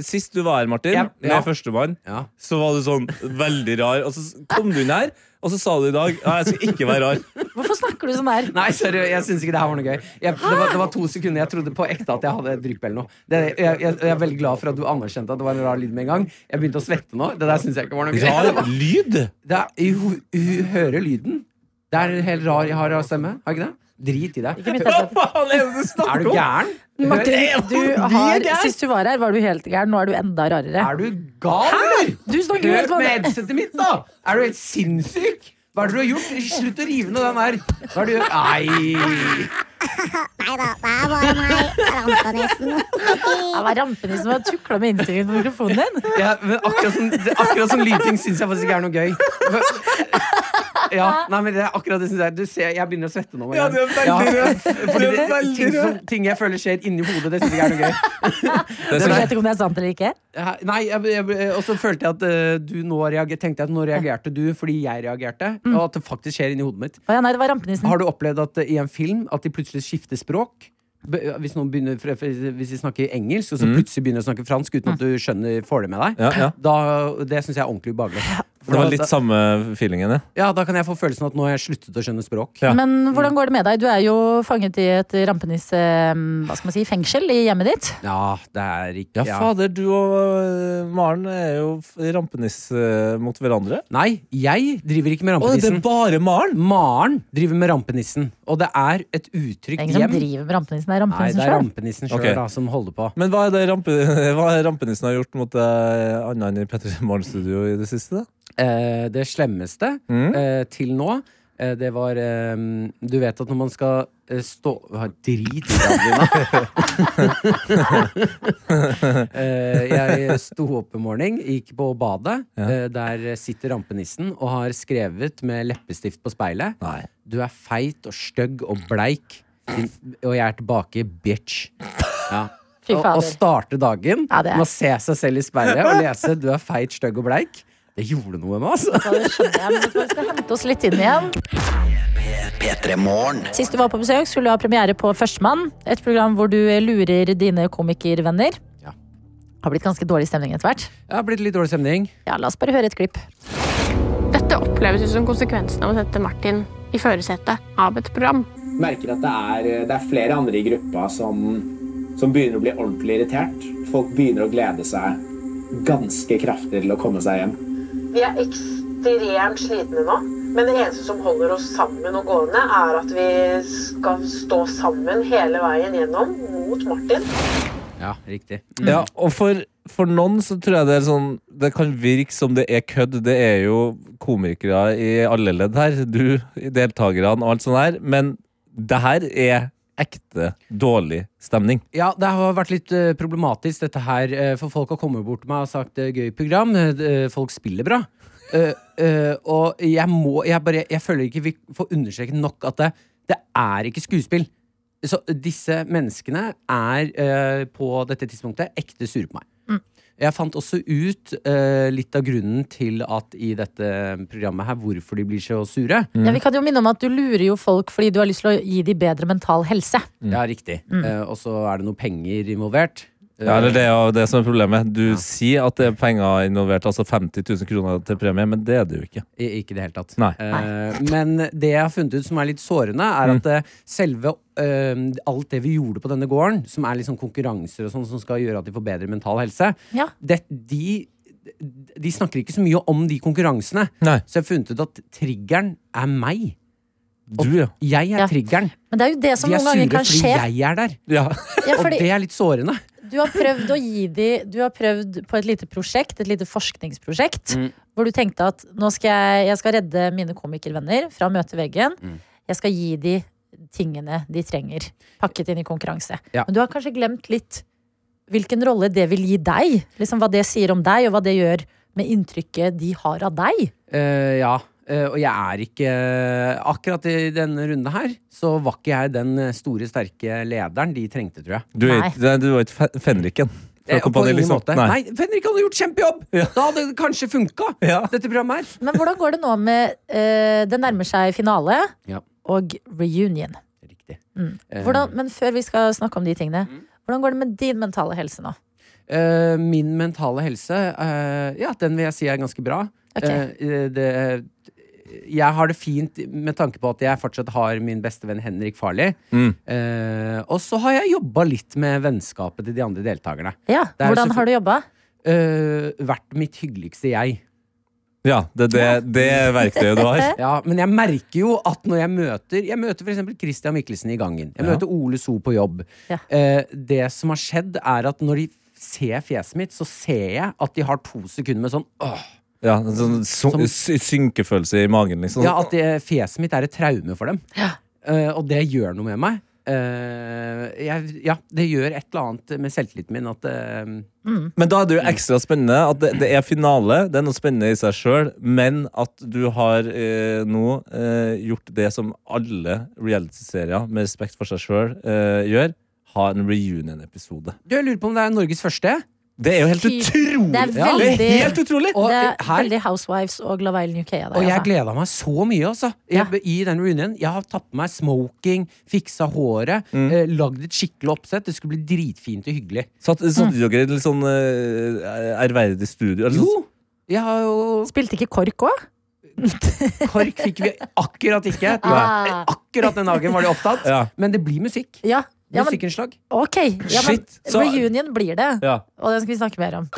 C: Sist du var her, Martin,
I: Ja.
C: med
I: Ja.
C: førstemann, så var du sånn veldig rar. Og så kom du inn her, og så sa du i dag Nei, jeg skal ikke være rar.
B: Hvorfor snakker du sånn her?
I: Nei, sorry, jeg syns ikke det her var noe gøy. Jeg, det, var, det var to sekunder jeg trodde på ekte at jeg hadde drypp eller noe. Det, jeg, jeg, jeg er veldig glad for at du anerkjente at det var en rar lyd med en gang. Jeg begynte å svette nå. Det der syns jeg ikke var noe gøy.
C: Rar
I: Det var-
C: lyd?
I: *laughs* Det er, hun, hun hører lyden. Det er en helt rar jeg har rar stemme. Har jeg ikke det? Drit i det.
B: mitt, altså.
I: Er du gæren?
B: Martin,
I: Hør-
B: du har, sist du var her, var du helt gæren. Nå er du enda rarere.
I: Er du gal, eller?
B: Du snakker jo
I: Hør
B: helt
I: på
B: vanlig.
I: headsetet mitt, da! Er du helt sinnssyk? Hva er det du har gjort? Slutt å rive ned den der. Hva er det du Nei!
B: Jeg var rampenissen og tukla med innstillingen på mikrofonen din.
I: Ja, men akkurat sånn, det- akkurat sånn lyting syns jeg faktisk ikke er noe gøy. Ja, nei, men det er akkurat det synes jeg Du ser, Jeg begynner å svette nå. med en
C: Ja, du er
I: gang.
C: veldig rød.
I: fordi
C: Du er
I: det-
C: veldig
I: ting, som,
C: rød.
I: ting jeg føler skjer inni hodet, det syns jeg ikke er noe gøy.
B: Jeg
C: sånn-
B: vet ikke om det er sant eller ikke.
I: Ja, Nei, jeg, jeg, Og så følte jeg at eh, du nå reager, tenkte jeg at nå reagerte du fordi jeg reagerte, og at det faktisk skjer inni hodet mitt.
B: Å ja, nei, det var rampenissen.
I: Har du opplevd at eh, i en film at de plutselig skifter språk? Be- Hvis noen begynner for- for- Hvis de snakker engelsk, og så
C: Mm.
I: plutselig begynner å snakke fransk
B: Mm.
I: uten at du skjønner, får det med deg,
C: Ja, ja.
I: Da, det syns jeg er ordentlig ubehagelig.
C: Det var litt
I: da,
C: samme feelingen, ja.
I: ja, da kan jeg få følelsen at nå har jeg sluttet å skjønne språk.
B: Men hvordan går det med deg? Du er jo fanget i et rampenisse... Hva skal man si? Fengsel i hjemmet ditt.
I: Ja, det er ikke
C: Ja, fader, du og øh, Maren er jo f- rampenis øh, mot hverandre.
I: Nei, jeg driver ikke med
C: Å, det
I: rampenissen.
C: er bare Maren?
I: Maren driver med rampenissen. Og det er et
B: Det er
I: utrygt
B: ingen som
I: hjem.
B: driver med rampenissen. Det er
I: Nei,
B: rampenissen
I: det er
B: sjøl.
I: rampenissen sjøl
C: Ok.
I: da, som holder på.
C: Men hva er det rampe, *laughs* hva er rampenissen har gjort mot deg annet enn i Petter Morgenstudio i det siste? da?
I: Eh, det slemmeste eh, til nå, eh, det var eh, Du vet at når man skal eh, stå Hva, Drit i deg, Adelina. eh, jeg sto opp en morgen, gikk på badet. Eh, der sitter rampenissen og har skrevet med leppestift på speilet. Du er feit og stygg og bleik, din, og jeg er tilbake, bitch. Ja.
B: Fy
I: Og,
B: fader.
I: og starte dagen
B: Ja, det er-
I: med å se seg selv i speilet og
P: *laughs*
I: lese 'du er feit, stygg og bleik'. Det gjorde noe med meg, altså.
B: Ja, det skjønner jeg, men vi skal hente oss litt inn igjen. Sist du var på besøk, skulle du ha premiere på Førstemann. Et program hvor du lurer dine komikervenner. Har blitt ganske dårlig stemning etter hvert.
I: Det har blitt litt dårlig stemning.
B: Ja, La oss bare høre et klipp.
P: Dette oppleves jo som konsekvensen av å sette Martin i førersetet av et program.
Q: merker at det er, eh, det er flere andre i gruppa som, som begynner å bli ordentlig irritert. Folk begynner å glede seg ganske kraftig til å komme seg hjem.
R: Vi er ekstremt slitne nå. Men det eneste som holder oss sammen og gående, er at vi skal stå sammen hele veien gjennom mot Martin.
I: Ja, riktig.
C: Ja, og for, for noen så tror jeg det er sånn Det kan virke som det er kødd. Det er jo komikere i alle ledd her. Du, deltakerne og alt sånt her. Men det her er ekte dårlig stemning.
I: Ja, det har vært litt eh, problematisk dette her, eh, for folk har kommet bort til meg og sagt eh, 'gøy program', eh, eh, folk spiller bra. Eh, eh, og jeg må Jeg bare Jeg føler ikke vi får understreket nok at det, det er ikke skuespill. Så disse menneskene er eh, på dette tidspunktet ekte sure på meg. Jeg fant også ut eh, litt av grunnen til at i dette programmet her, hvorfor de blir så sure.
B: Ja, vi kan jo minne om at du lurer jo folk fordi du har lyst til å gi dem bedre mental helse.
I: Ja, riktig.
B: Mm.
I: Eh, og så er det noe penger involvert.
C: Ja, eller det er jo det som er problemet. Du sier at det er penger involvert, altså 50 000 kroner til premie, men det er det jo ikke.
I: I- Ikke i det hele tatt.
C: Nei.
I: Eh, men det jeg har funnet ut som er litt sårende, er
B: Mm.
I: at eh, selve eh, alt det vi gjorde på denne gården, som er liksom konkurranser og sånn som skal gjøre at de får bedre mental helse,
B: Ja.
I: det, de, de snakker ikke så mye om de konkurransene. Så jeg har funnet ut at triggeren er meg.
C: Du, ja.
I: Jeg er triggeren.
B: Men det er jo det som
I: de er
B: Altså, noen ganger
I: sure
B: kan
I: fordi
B: skje.
I: jeg er der.
B: Ja,
I: Og
B: fordi-
I: det er litt sårende.
B: Du har prøvd å gi de Du har prøvd på et lite prosjekt, et lite forskningsprosjekt,
I: Mm.
B: hvor du tenkte at nå skal jeg, jeg skal redde mine komikervenner fra å møte veggen.
I: Mm.
B: Jeg skal gi de tingene de trenger, pakket inn i konkurranse.
I: Ja.
B: Men du har kanskje glemt litt hvilken rolle det vil gi deg. Liksom Hva det sier om deg, og hva det gjør med inntrykket de har av deg.
I: Eh, ja. Eh, og jeg er ikke eh, Akkurat i denne runden her så var ikke jeg den store, sterke lederen de trengte, tror jeg.
C: Du er, ikke- du er ikke fe- fenriken. fra
I: Eh, På
C: Kompani,
I: ingen
C: liksom.
I: måte. Nei, Fenrik hadde gjort kjempejobb! Da hadde det kanskje funka, dette programmet her.
B: Men hvordan går det nå med eh, Det nærmer seg finale
I: Ja. Eh.
B: og reunion. Mm. Hvordan, men før vi skal snakke om de tingene,
I: Mm.
B: hvordan går det med din mentale helse nå?
I: Eh, min mentale helse, eh, ja, den vil jeg si er ganske bra.
B: Ok.
I: Eh, det, jeg har det fint med tanke på at jeg fortsatt har min beste venn Henrik Farli.
C: Mm.
I: Eh, og så har jeg jobba litt med vennskapet til de andre deltakerne.
B: Ja,
I: Det er
B: Hvordan
I: selvfø-
B: har du jobba?
I: Eh, vært mitt hyggeligste jeg.
C: Ja, det, det, det er verktøyet du har.
I: Ja, men jeg merker jo at når jeg møter Jeg møter f.eks. Christian Mikkelsen i gangen. Jeg
C: Ja.
I: møter Ole So på jobb. Eh, det som har skjedd, er at når de ser fjeset mitt, så ser jeg at de har to sekunder med sånn åh.
C: Ja, en sånn
I: Som-
C: syn- sy- synkefølelse i magen,
B: Sånn,
C: liksom.
I: Ja, at det, fjeset mitt er et traume for dem. Eh, og det gjør noe med meg. Eh, jeg, ja, det gjør et eller annet med selvtilliten min at eh,
C: Men da er det jo ekstra spennende at det, det er finale, det er noe spennende i seg sjøl, men at du har eh, nå eh, gjort det som alle realityserier med respekt for seg sjøl eh, gjør, ha en reunion-episode.
I: Du, jeg lurer på om det er Norges første?
C: Det er jo helt utrolig!
B: Det er
I: Ja,
B: veldig,
I: det er helt utrolig. Og,
B: Det er
I: eh, her-
B: veldig Housewives og Love Island UK. av deg,
I: Og jeg
B: altså.
I: gleda meg så mye, altså. Jeg, I den reunionen. Jeg har tatt på meg smoking, fiksa håret, eh, lagd et skikkelig oppsett. Det skulle bli dritfint og hyggelig.
C: Satt, satt dere i et litt sånn eh, ærverdig studio? eller sånn-
I: Jo! Jeg har jo
B: Spilte ikke KORK òg?
I: KORK fikk vi akkurat ikke. Det var-
B: *laughs* Ah.
I: Akkurat den dagen var de opptatt.
C: Ja.
I: Men det blir musikk.
B: Ja. ja, men,
I: Musikkinnslag.
B: ok, ja, men
I: Shit, så-
B: reunion blir det.
C: Ja.
B: Og den skal vi snakke mer om.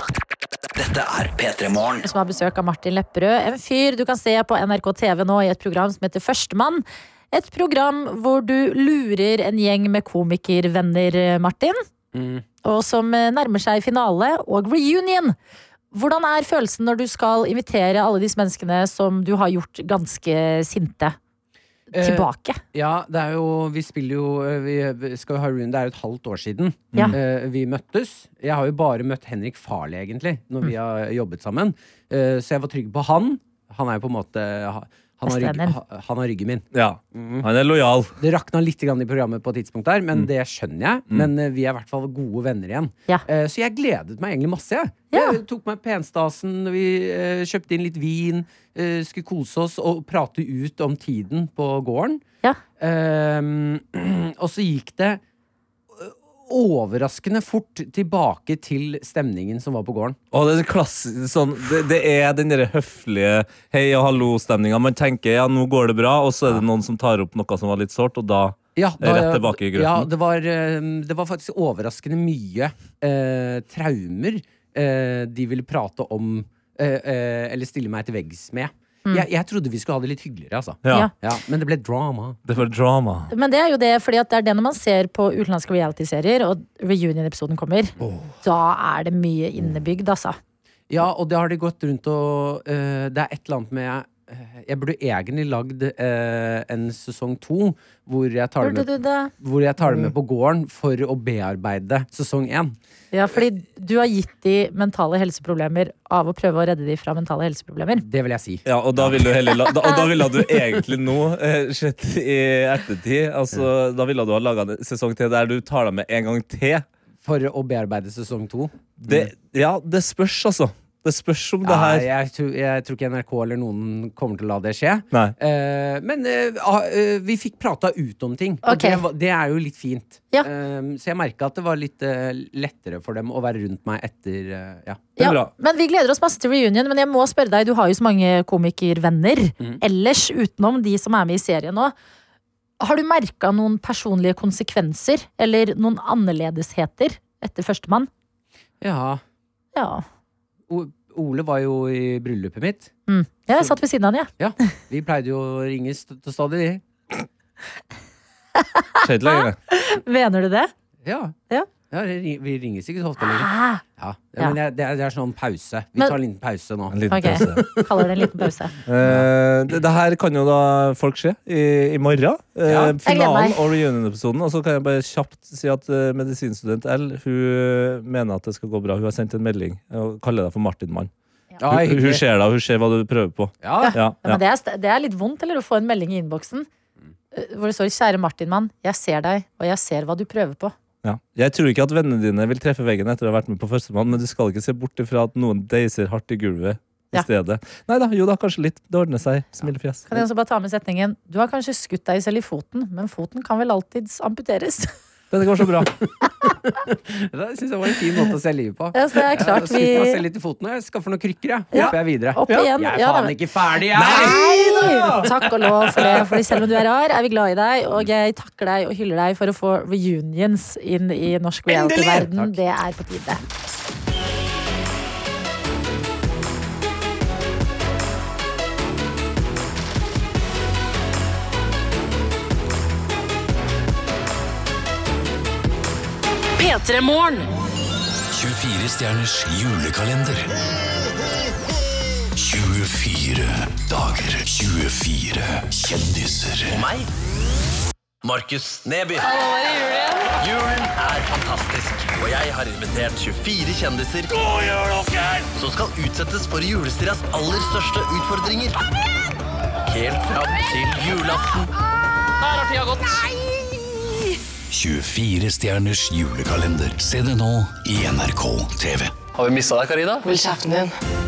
S: Dette er P3 Morgen.
B: Som har besøk av Martin Lepperød. En fyr du kan se på NRK TV nå i et program som heter Førstemann. Et program hvor du lurer en gjeng med komikervenner, Martin. Og som eh, nærmer seg finale og reunion. Hvordan er følelsen når du skal invitere alle disse menneskene som du har gjort ganske sinte,
I: Eh,
B: tilbake?
I: Ja, det er jo Vi spiller jo eh, Vi skal jo ha Rune, det er jo et halvt år siden
B: Ja.
I: eh, vi møttes. Jeg har jo bare møtt Henrik Farley, egentlig, når vi har jobbet sammen. Eh, så jeg var trygg på han. Han er jo på en måte ha- Han har, rygg,
C: Bestevennen.
I: ha- han har ryggen min.
C: Ja. Han er lojal.
I: Det rakna litt grann i programmet på et tidspunkt der, men det skjønner jeg. Men eh, vi er i hvert fall gode venner igjen. Eh, så jeg gledet meg egentlig masse. Jeg, jeg tok meg penstasen, vi eh, kjøpte inn litt vin, eh, skulle kose oss og prate ut om tiden på gården. Eh, *clears throat* og så gikk det eh, overraskende fort tilbake til stemningen som var på gården.
C: Og det, er klassisk, sånn, det, det er den der høflige hei og hallo-stemninga. Man tenker ja, nå går det bra, og så er det noen som tar opp noe som var litt sårt, og da,
I: Ja,
C: er det rett tilbake i grøten.
I: Ja, det var, eh, det var faktisk overraskende mye eh, traumer eh, de ville prate om eh, eh, eller stille meg til veggs med.
B: Mm.
I: Jeg, jeg trodde vi skulle ha det litt hyggeligere, altså.
C: Ja. Ja.
I: men det ble drama.
C: Det var drama.
B: Men det er jo det, fordi at det er det når man ser på utenlandske realityserier, og reunion-episoden kommer, da er det mye innebygd, altså.
I: Ja, og det har de gått rundt og eh, Det er et eller annet med eh, Jeg burde egentlig lagd eh, en sesong to hvor jeg tar
B: Burde
I: det
B: du
I: med
B: det?
I: hvor jeg tar det med på gården for å bearbeide sesong én.
B: Ja, fordi du har gitt de mentale helseproblemer av å prøve å redde de fra mentale helseproblemer.
I: Det vil jeg si.
C: Ja, og da ville du heller la- da, og da ville du egentlig nå, eh, sett i ettertid altså, Da ville du ha laga en sesong til der du tar deg med en gang til.
I: for å bearbeide sesong to?
C: Det, ja, det spørs, altså. Det spørs om det
I: Nei,
C: her
I: jeg, tror, jeg tror ikke NRK eller noen kommer til å la det skje.
C: Nei.
I: Eh, men eh, ah, eh, vi fikk prata ut om ting, og
B: Ok.
I: det, var- det er jo litt fint. Eh, så jeg merka at det var litt eh, lettere for dem å være rundt meg etter eh, Ja.
B: Ja, men Vi gleder oss masse til reunion, men jeg må spørre deg, du har jo så mange komikervenner
I: Mm.
B: ellers, utenom de som er med i serien nå. Har du merka noen personlige konsekvenser eller noen annerledesheter etter Førstemann?
I: Ja.
B: Ja.
I: O Ole var jo i bryllupet mitt.
B: Mm. Ja, jeg satt ved siden av han, jeg.
I: Ja, vi pleide jo å ringe st til stadig, vi.
C: Skjedde lenger.
B: Mener du det?
I: Ja.
B: Ja.
I: Ja, det ring- vi ringes ikke så ofte lenger.
B: Hæ?
I: Ja.
B: Ja.
I: Ja, men det, det, er, det er sånn pause. Vi
B: Men-
I: tar en liten pause nå.
C: En liten
B: Ok,
C: pause.
B: Kaller det en liten pause.
C: Eh, det, det her kan jo da folk se i, i morgen. Eh,
B: Ja. Jeg gleder
C: finalen
B: meg.
C: og reunion-episoden. Og så kan jeg bare kjapt si at eh, medisinstudent L Hun eh, mener at det skal gå bra. Hun har sendt en melding eh, og kaller deg for Martin-mann.
B: Ja.
I: Ja,
C: Hun, hun
I: hyggelig.
C: ser deg, hun ser hva du prøver på.
I: Ja.
C: Ja,
B: Ja, men det, er, st- det er litt vondt, eller? Å få en melding i innboksen eh, hvor det står 'Kjære Martin-mann, jeg ser deg, og jeg ser hva du prøver på'.
C: ja. Jeg tror ikke at vennene dine vil treffe veggen etter å ha vært med på Førstemann, men du skal ikke se bort ifra at noen deiser hardt i gulvet i
B: Ja.
C: stedet. Nei da, jo da, kanskje litt. Det ordner seg. Smilefjes.
B: Kan jeg også bare ta med setningen 'Du har kanskje skutt deg selv i foten, men foten kan vel alltids amputeres'?
C: Dette går så bra.
I: Det syns jeg var en fin måte å se livet på.
B: Ja, så det er klart
I: jeg
B: vi-
I: skutt meg selv litt i foten, og jeg skaffer noen krykker, jeg. Håper
B: Ja.
I: jeg er videre.
B: Opp igjen.
I: Jeg er
B: Ja,
I: faen
B: da.
I: ikke ferdig, jeg!
B: Hei! Takk og lov for det, Fordi selv om du er rar, er vi glad i deg. Og jeg takker deg og hyller deg for å få reunions inn i norsk reality-verden. Det er på tide.
A: P3 Morgen.
D: 24 stjerners julekalender. 24 dager. 24 kjendiser. Og meg. Markus Neby. Julen er fantastisk, og jeg har invitert 24 kjendiser som skal utsettes for julestiras aller største utfordringer. Helt fram til julaften.
A: Der har tida gått.
D: 24 stjerners julekalender. Se det nå i NRK TV. Har vi mista deg, Karina?
A: Hold kjeften din.